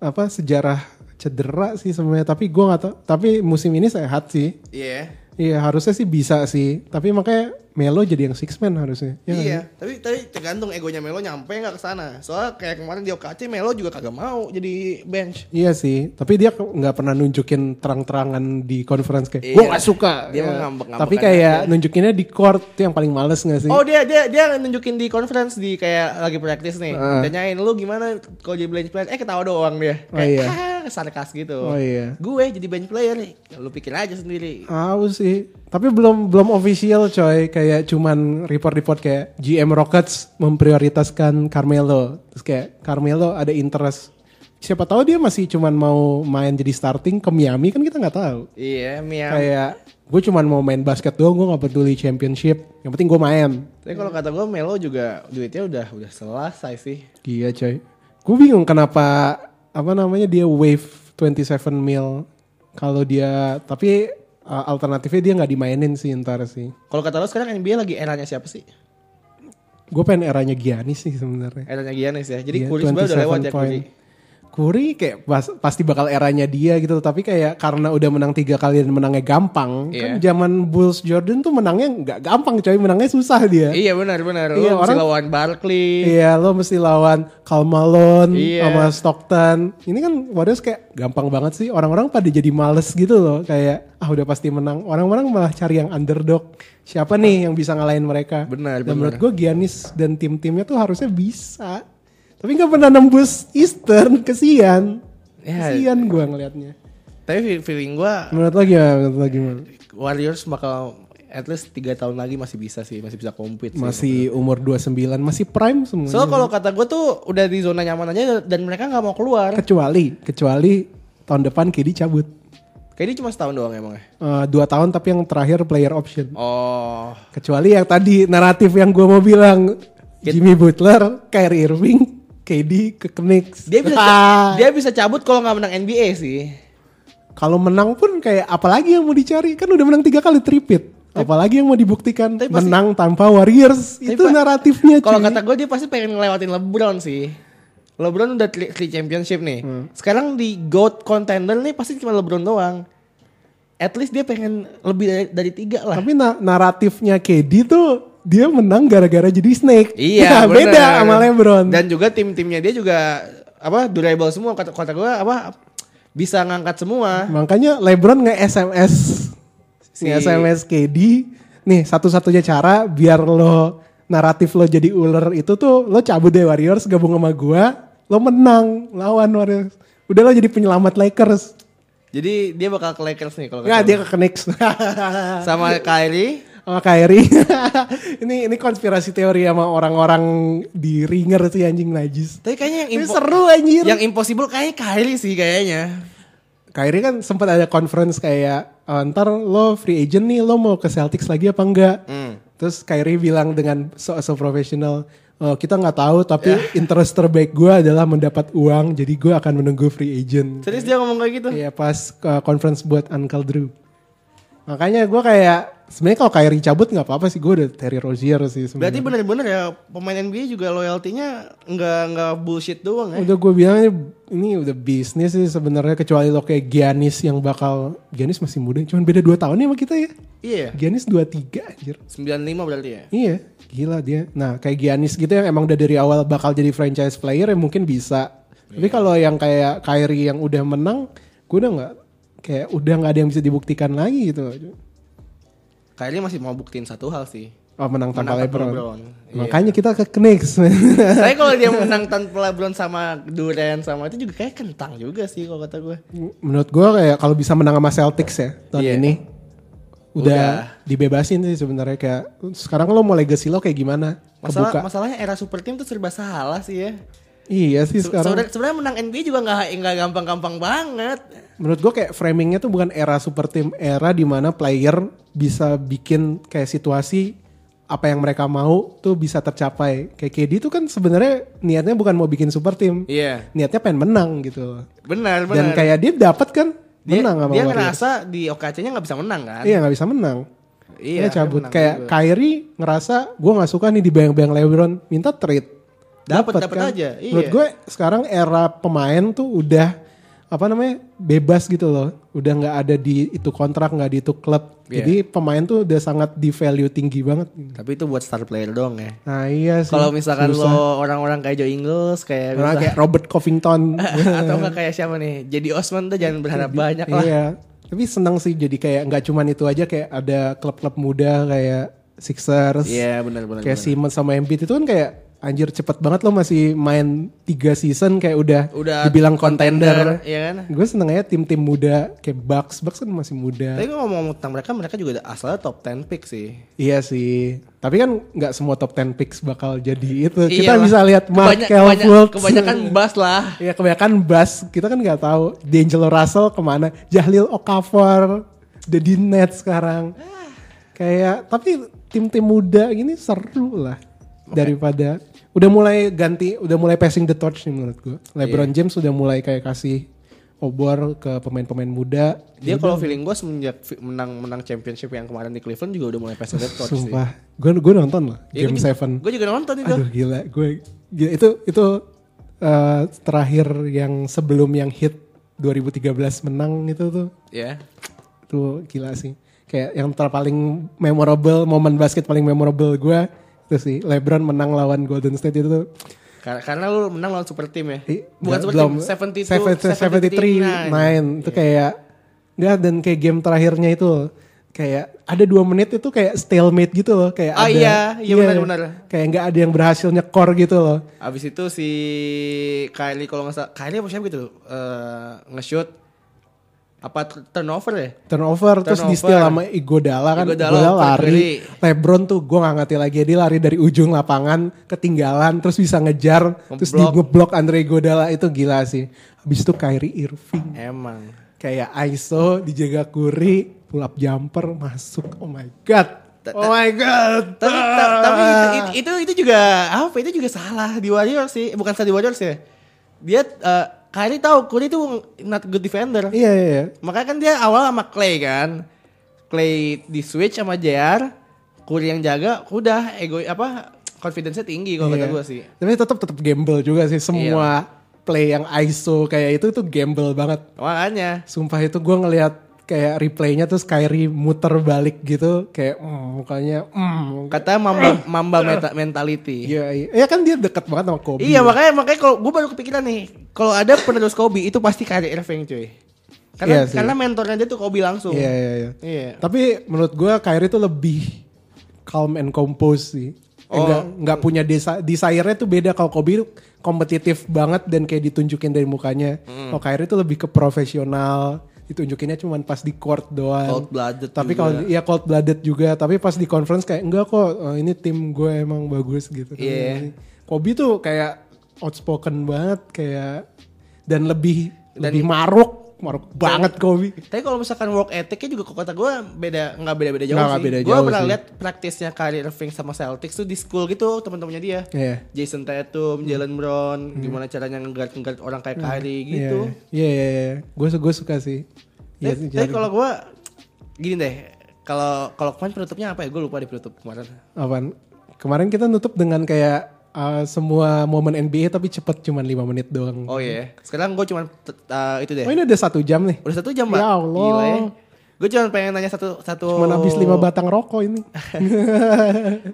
apa sejarah cedera sih sebenarnya tapi gua nggak tahu tapi musim ini sehat sih
Iya.
iya harusnya sih bisa sih tapi makanya Melo jadi yang six man harusnya Iya nggak
iya,
sih?
tapi tapi tergantung egonya Melo nyampe nggak ke sana. Soalnya kayak kemarin di OKC Melo juga kagak mau jadi bench.
iya sih tapi dia ke- nggak pernah nunjukin terang-terangan di conference kayak
Iya.
gua nggak suka
Dia
Iya.
mah ngambek-ngambekan
tapi kayak nunjukinnya di court tuh yang paling males nggak sih
Oh dia dia dia nunjukin di conference di kayak lagi practice nih.
Heeh.
Tanyain lu gimana kalau jadi bench player? Eh ketawa doang dia.
Ah. Oh,
Kayak,
iya.
"Ah," sarkas gitu.
Oh, iya.
Gue jadi bench player nih. Ya, Lu pikir aja sendiri.
Tahu sih, tapi belum belum official coy, kayak cuman report-report kayak GM Rockets memprioritaskan Carmelo. Terus kayak Carmelo ada interest. Siapa tahu dia masih cuman mau main jadi starting ke Miami kan kita nggak tahu.
Iya, Mia.
Kayak gue cuman mau main basket doang, gue nggak peduli championship. Yang penting gue main.
Tapi kalau kata gue Melo juga duitnya udah udah selesai sih.
Iya coy. Gue bingung kenapa apa namanya dia wave 27 mil kalau dia tapi uh, alternatifnya dia nggak dimainin sih ntar sih.
Kalau kata lu sekarang NBA lagi eranya siapa sih?
Gue pengen eranya Giannis sih sebenarnya.
Eranya Giannis ya. Jadi
Iya,
Curry sebenarnya udah
27
lewat ya
point.
Curry.
Curry kayak pas- pasti bakal eranya dia gitu, tapi kayak karena udah menang tiga kali dan menangnya gampang.
Iya.
Kan zaman Bulls Jordan tuh menangnya nggak gampang coy, menangnya susah dia.
Iya benar benar. Lu
Iya,
mesti
orang-
lawan Barkley.
Iya, lo mesti lawan Karl Malone
Iya.
sama Stockton. Ini kan Warriors kayak gampang banget sih. Orang-orang pada jadi males gitu loh. Kayak ah udah pasti menang. Orang-orang malah cari yang underdog. Siapa nih yang bisa ngalahin mereka?
Benar,
Dan
benar.
menurut gue Giannis dan tim-timnya tuh harusnya bisa. Tapi nggak pernah nembus Eastern. Kesian.
Ya.
Kesian gue ngelihatnya.
Tapi fe- feeling gua
Menurut lo gimana? Menurut lo gimana?
Warriors bakal at least 3 tahun lagi masih bisa sih, masih bisa compete sih.
Masih umur 29, masih prime semua.
So kalau kata gue tuh udah di zona nyaman aja dan mereka nggak mau keluar.
kecuali kecuali tahun depan KD cabut.
Kayaknya cuma setahun doang emang ya.
Eh, dua tahun tapi yang terakhir player option.
Oh,
Kecuali yang tadi naratif yang gue mau bilang Jimmy Butler, Kyrie Irving, KD ke Knicks.
dia bisa
Ah,
dia bisa cabut kalau nggak menang NBA sih.
kalau menang pun kayak apalagi yang mau dicari kan udah menang tiga kali tripit. Apalagi yang mau dibuktikan
Tapi pasti-
menang tanpa Warriors
Tapi
itu
pa-
naratifnya.
Kalau
cuy.
kata gue dia pasti pengen ngelewatin LeBron sih. LeBron udah 3 championship nih.
Hmm.
Sekarang di GOAT contender nih pasti cuma LeBron doang. At least dia pengen lebih dari, dari tiga lah.
tapi na- naratifnya KD tuh dia menang gara-gara jadi Snake.
Iya,
Ya, beda
bener.
sama LeBron.
Dan juga tim-timnya dia juga apa durable semua kata kata gue apa bisa ngangkat semua.
Ah. Makanya LeBron nge SMS si
Si-
SMS KD. Nih satu-satunya cara biar lo naratif lo jadi ular itu tuh lo cabut deh Warriors gabung sama gua, lo menang lawan Warriors. Udah lo jadi penyelamat Lakers.
Jadi dia bakal ke Lakers nih kalau
Nggak
kata
dia ke Knicks.
gua. sama Kyrie.
sama Kyrie. ini ini konspirasi teori sama orang-orang di ringer sih anjing najis.
Tapi kayaknya yang
Ini
impo-
seru anjir.
yang impossible kayaknya Kyrie sih kayaknya.
Kyrie kan sempat ada conference kayak "Oh, ntar lo free agent nih lo mau ke Celtics lagi apa enggak? Terus Kyrie bilang dengan so so profesional, eh, kita nggak tahu tapi interest terbaik gue adalah mendapat uang jadi gue akan menunggu free agent
Serius dia ngomong kayak gitu?
Iya pas ke conference buat Uncle Drew. Makanya gue kayak sebenarnya kalau Kyrie cabut nggak apa-apa sih gue udah Terry Rozier sih
Berarti
sebenarnya.
bener-bener ya pemain NBA juga loyalty-nya nggak nggak bullshit doang ya.
Udah gue bilang ini udah bisnis sih sebenarnya kecuali lo kayak Giannis yang bakal Giannis masih muda cuman beda 2 tahun ya sama kita ya.
Iya.
Giannis 23 anjir.
95 berarti ya.
Iya, gila dia. Nah, kayak Giannis gitu yang emang udah dari awal bakal jadi franchise player ya mungkin bisa. Tapi kalau yang kayak Kyrie yang udah menang, gue udah nggak kayak udah nggak ada yang bisa dibuktikan lagi gitu.
Kyrie masih mau buktiin satu hal sih.
Oh menang tanpa
Menang tanpa
LeBron.
LeBron. Iya.
Makanya kita ke Knicks. men.
Saya kalau dia menang tanpa LeBron sama Durant sama itu juga kayak kentang juga sih kalau kata gue.
Menurut gua kayak kalau bisa menang sama Celtics ya tahun
Iya.
ini udah,
Udah.
dibebasin sih sebenarnya kayak sekarang lo mau legacy lo kayak gimana?
Masalah
Kebuka.
masalahnya era super team tuh serba salah sih ya.
Iya sih sekarang.
Sebenarnya sebenarnya menang NBA juga nggak nggak gampang-gampang banget.
Menurut gue kayak framingnya tuh bukan era super team, era dimana player bisa bikin kayak situasi apa yang mereka mau tuh bisa tercapai. Kayak KD tuh kan sebenarnya niatnya bukan mau bikin super team,
Iya.
niatnya pengen menang gitu.
Benar,
Dan
benar.
kayak dia dapat kan
dia,
menang sama
dia
Warriors.
ngerasa di OKC-nya nggak bisa menang kan?
Iya nggak bisa menang.
Iya,
Dia cabut.
menang
Kayak
juga.
Kyrie ngerasa gue nggak suka nih dibayang-bayang LeBron, minta trade.
Dapet,
Dapet kan?
dapet aja, iya.
Menurut gue sekarang era pemain tuh udah apa namanya bebas gitu loh. Udah nggak ada di itu kontrak, nggak di itu klub.
Iya.
Jadi pemain tuh udah sangat di value tinggi banget.
Tapi itu buat star player doang ya.
Nah iya sih.
Kalau misalkan
Susah.
lo orang-orang kayak Joe Ingles kayak
Orang
misalkan-
kayak Robert Covington.
atau enggak kayak siapa nih? Jadi Osman tuh jangan berharap banyak lah.
Iya. Tapi senang sih jadi kayak nggak cuman itu aja kayak ada klub-klub muda kayak Sixers.
Iya, benar-benar.
kayak
benar.
Simmons sama Embiid itu kan kayak anjir cepet banget lo masih main tiga season kayak udah,
Udah
dibilang contender.
Iya kan?
Gue seneng aja tim-tim muda kayak Bucks, Bucks kan masih muda.
Tapi gue ngomong tentang mereka, mereka juga ada- asalnya top 10 pick sih.
Iya sih. Tapi kan nggak semua top 10 picks bakal jadi itu.
Iyalah.
Kita bisa lihat
Iya Kebanyak-
Markel
kebanyak-
Fultz.
Kebanyakan bas lah.
Iya kebanyakan Bass. Kita kan nggak tahu D'Angelo Russell kemana. Jahlil Okafor. Udah di net sekarang. Kayak tapi tim-tim muda gini seru lah. Daripada udah mulai ganti, udah mulai passing the torch nih menurut gue.
Iya.
LeBron James udah mulai kayak kasih obor ke pemain-pemain muda.
Dia kalau feeling gue semenjak fi- menang menang championship yang kemarin di Cleveland juga udah mulai passing the torch sih.
Sumpah, gue gue nonton lah Game 7.
Gue juga nonton itu.
Aduh gila, gue gila, itu itu eh, terakhir yang sebelum yang hit 2013 menang itu tuh,
Ya.
tuh gila sih. Kayak yang terpaling memorable momen basket paling memorable gue itu sih LeBron menang lawan Golden State itu tuh.
Kar- Karena lu menang lawan super team ya.
Ih,
Bukan
nggak-
super
Iya, belum.
team, 72,
73 nine. itu kayak enggak dan kayak game terakhirnya itu kayak ada dua menit itu kayak stalemate gitu loh kayak
Oh
ada
iya, iya benar-benar.
kayak nggak ada yang berhasil nyekor gitu loh
Abis itu si Kylie kalau nggak salah Kylie apa siapa gitu eh nge-shoot apa t- turnover ya?
turnover, terus di steal sama Igodala kan
Iguodala
Igodala,
oper kiri.
lari Lebron tuh gue gak ngerti lagi dia lari dari ujung lapangan ketinggalan terus bisa ngejar terus di
Ngeblok.
ngeblok Andre Igodala itu gila sih habis itu Kyrie Irving
Emang.
kayak ISO dijaga Curry pull up jumper masuk oh my god oh my god Ah.
Tapi, ta- tapi itu, itu- itu itu juga apa? Itu juga salah di Warriors sih, bukan salah di Warriors ya. Dia eh Kyrie tahu Curry itu not good defender.
iya iya iya
Makanya kan dia awal sama Clay kan. Clay di switch sama JR, Curry yang jaga, udah ego apa confidence-nya tinggi kalau kata
Iya.
gue sih. Iya.
tapi tetap tetap gamble juga sih semua play yang ISO kayak itu tuh gamble banget
Makanya
Sumpah itu gue ngelihat kayak replaynya terus Kyrie muter balik gitu kayak mm, mukanya mm.
kata mamba mamba meta- mentality.
Iya, iya. Ya kan dia deket banget sama Kobe.
Iya makanya makanya kalau gue baru kepikiran nih kalau ada penerus Kobe itu pasti Kyrie Irving cuy. Karena
Iya sih.
karena mentornya dia tuh Kobe langsung.
Iya, iya, iya.
Iya.
Tapi menurut gue Kyrie tuh lebih calm and composed sih.
Oh.
Enggak enggak punya desa desire-nya tuh beda kalau Kobe tuh kompetitif banget dan kayak ditunjukin dari mukanya.
Hmm.
Kalau Kyrie tuh lebih ke profesional, ditunjukinnya cuman pas di court doang.
Cold-blooded
Tapi
juga.
kalau ya cold blooded juga, tapi pas di conference kayak enggak kok eh, ini tim gue emang bagus gitu.
Iya.
Kobe tuh kayak outspoken banget kayak dan lebih lebih maruk maruk banget Kobe.
Tapi kalau misalkan work ethicnya juga kok kata gue beda nggak beda-beda jauh
Nggak,
sih.
nggak beda
gue
jauh
pernah
sih.
lihat praktisnya Kyrie Irving sama Celtics tuh di school gitu teman-temannya dia.
Iya.
Jason Tatum, Jalen Brown, gimana caranya ngeguard ngeguard orang kayak Kyrie gitu.
Hmm. Iya, iya, iya. Gue gue suka sih. Iya,
Tapi-
jadi-
Tapi kalau gue gini deh, kalau kalau kemarin penutupnya apa ya? Gue lupa di penutup kemarin.
Apaan? Kemarin kita nutup dengan kayak uh, semua momen NBA tapi cepet cuman 5 menit doang.
Oh iya, sekarang gue cuman eh, itu deh.
Oh, ini udah satu jam nih.
Udah satu jam mbak.
Ya Allah.
Gue cuma pengen nanya satu satu.
Cuman habis 5
Oh.
batang rokok ini.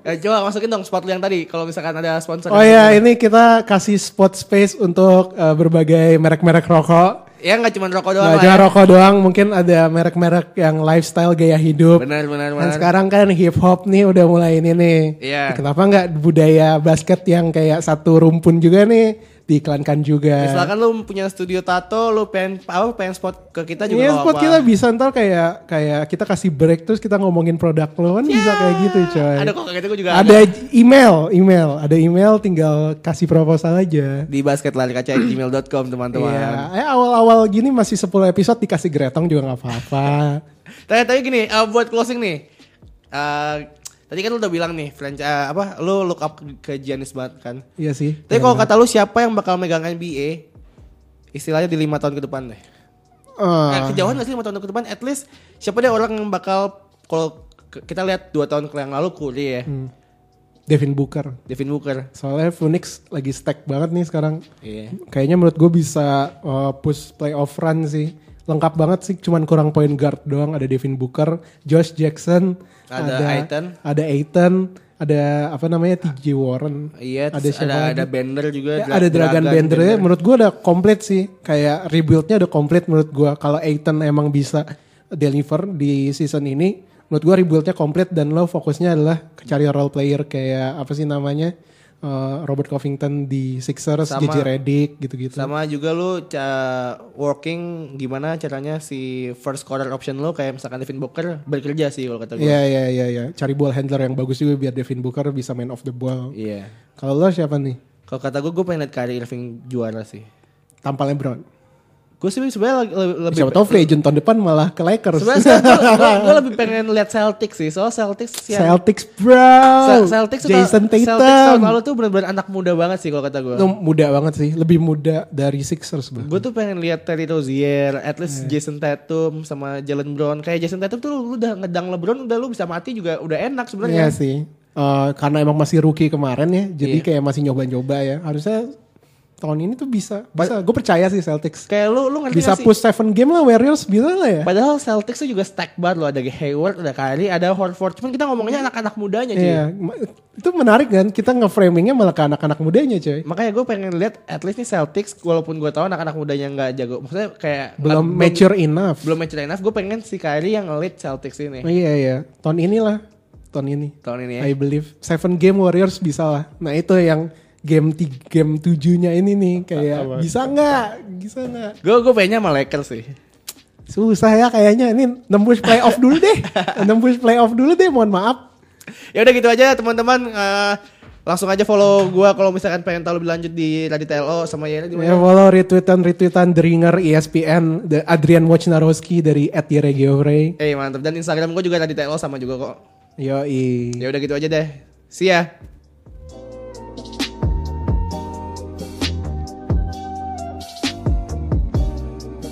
Eh, coba masukin dong spot lu yang tadi. Kalau misalkan ada sponsor.
Oh ya, ini kita kasih spot space untuk uh, berbagai merek-merek rokok.
Ya nggak cuma rokok doang.
Gak
lah
cuma
ya.
rokok doang, mungkin ada merek-merek yang lifestyle gaya hidup.
Benar benar
Dan
benar.
sekarang kan hip hop nih udah mulai ini nih.
Iya.
Kenapa nggak budaya basket yang kayak satu rumpun juga nih diiklankan juga.
Misalkan lu punya studio tato, lu pengen apa pengen spot ke kita juga
Iya
nggak
spot
apa-apa.
kita bisa ntar kayak kayak kita kasih break terus kita ngomongin produk lo kan bisa kayak gitu coy.
Ya, Ada kok kayak gitu gua juga ada.
Ada email, email, ada email tinggal kasih proposal aja.
Di basketlarikaca@gmail.com teman-teman.
Iya, eh, awal-awal gini masih 10 episode dikasih gretong juga nggak apa-apa.
Tapi tapi gini, eh, buat closing nih. Eh, tadi kan lu udah bilang nih, franchise apa? Lu look up ke Giannis banget kan.
iya sih.
Tapi kalau kata lu siapa yang bakal megang NBA? Istilahnya di lima tahun ke depan deh.
Eh,
Nah, kejauhan gak sih lima tahun ke depan? At least siapa deh orang yang bakal kalau ke- kita lihat dua tahun ke yang lalu Curry ya,
Hmm. Devin Booker.
Devin Booker.
Soalnya Phoenix lagi stack banget nih sekarang.
Iya.
Kayaknya menurut gue bisa uh, push playoff run sih. Lengkap banget sih, cuman kurang point guard doang. Ada Devin Booker, Josh Jackson,
Ada Ayton.
ada Ayton, ada apa namanya TJ Warren.
Iya,
ada
terus
siapa
ada
lagi?
ada, Bender juga.
Ya,
Dra-
ada Dragon Bender ya. Menurut gue udah komplit sih. Kayak rebuildnya udah komplit menurut gue. Kalau Aiton emang bisa deliver di season ini, menurut gue rebuildnya komplit dan lo fokusnya adalah cari role player kayak apa sih namanya eh, Robert Covington di Sixers,
Sama-
JJ Redick gitu-gitu.
Sama juga lu ca- working gimana caranya si first scorer option lu kayak misalkan Devin Booker bekerja sih kalau kata gue.
Iya iya iya iya. Cari ball handler yang bagus juga biar Devin Booker bisa main off the ball.
Iya.
Kalau lo siapa nih?
Kalau kata gue, gue pengen liat Kyrie Irving juara sih.
Tanpa LeBron.
Gue sih sebenarnya le- le- lebih
Siapa tahu free agent tahun depan malah ke Lakers.
sebenarnya gue lebih pengen lihat Celtics sih. Soal Celtics yang
Celtics bro.
Cel- Celtics tuh
Jason
tahun-
Tatum.
Celtics tahun lalu tuh benar-benar anak muda banget sih kalau kata gue.
Itu muda banget sih, lebih muda dari Sixers bro.
Gue tuh pengen lihat Terry Rozier, at least
Iya.
Jason Tatum sama Jalen Brown. Kayak Jason Tatum tuh lu udah ngedang LeBron, udah lu bisa mati juga udah enak
Iya
sebenarnya. Iya.
sih. Eh, karena emang masih rookie kemarin ya, jadi kayak masih nyoba-nyoba ya. Harusnya tahun ini tuh bisa. Bisa, gue percaya sih Celtics.
Kayak lu lu ngerti
Bisa
gak sih?
push 7 game lah Warriors bisa lah ya.
Padahal Celtics tuh juga stack banget loh ada Hayward, ada Kyrie, ada Horford. Cuman kita ngomongnya anak-anak mudanya cuy.
Iya, ma- itu menarik kan? Kita ngeframingnya malah ke anak-anak mudanya coy.
Makanya gue pengen lihat at least nih Celtics walaupun gue tahu anak-anak mudanya nggak jago. Maksudnya kayak
Belum mature enough.
belum ya. mature enough, gue pengen si Kyrie yang ngelit Celtics ini
Oh, iya iya, tahun inilah, tahun ini.
tahun ini ya.
I believe seven game Warriors bisa lah. Nah itu yang game tiga, game tujuhnya ini nih kayak bisa nggak, bisa nggak.
Gue gue pengennya sama Lakers sih.
Susah ya kayaknya ini nembus playoff dulu deh. nembus playoff dulu deh mohon maaf.
ya udah gitu aja teman-teman Eh, langsung aja follow gua kalau misalkan pengen tahu lebih lanjut di Radit TLO sama Yena di
Ya
mana
follow retweetan retweetan Dringer E ESPN The Adrian Wojnarowski dari @yeregiore.
eh mantap dan Instagram gua juga Radit TLO sama juga kok
Yoi.
ya udah gitu aja deh see ya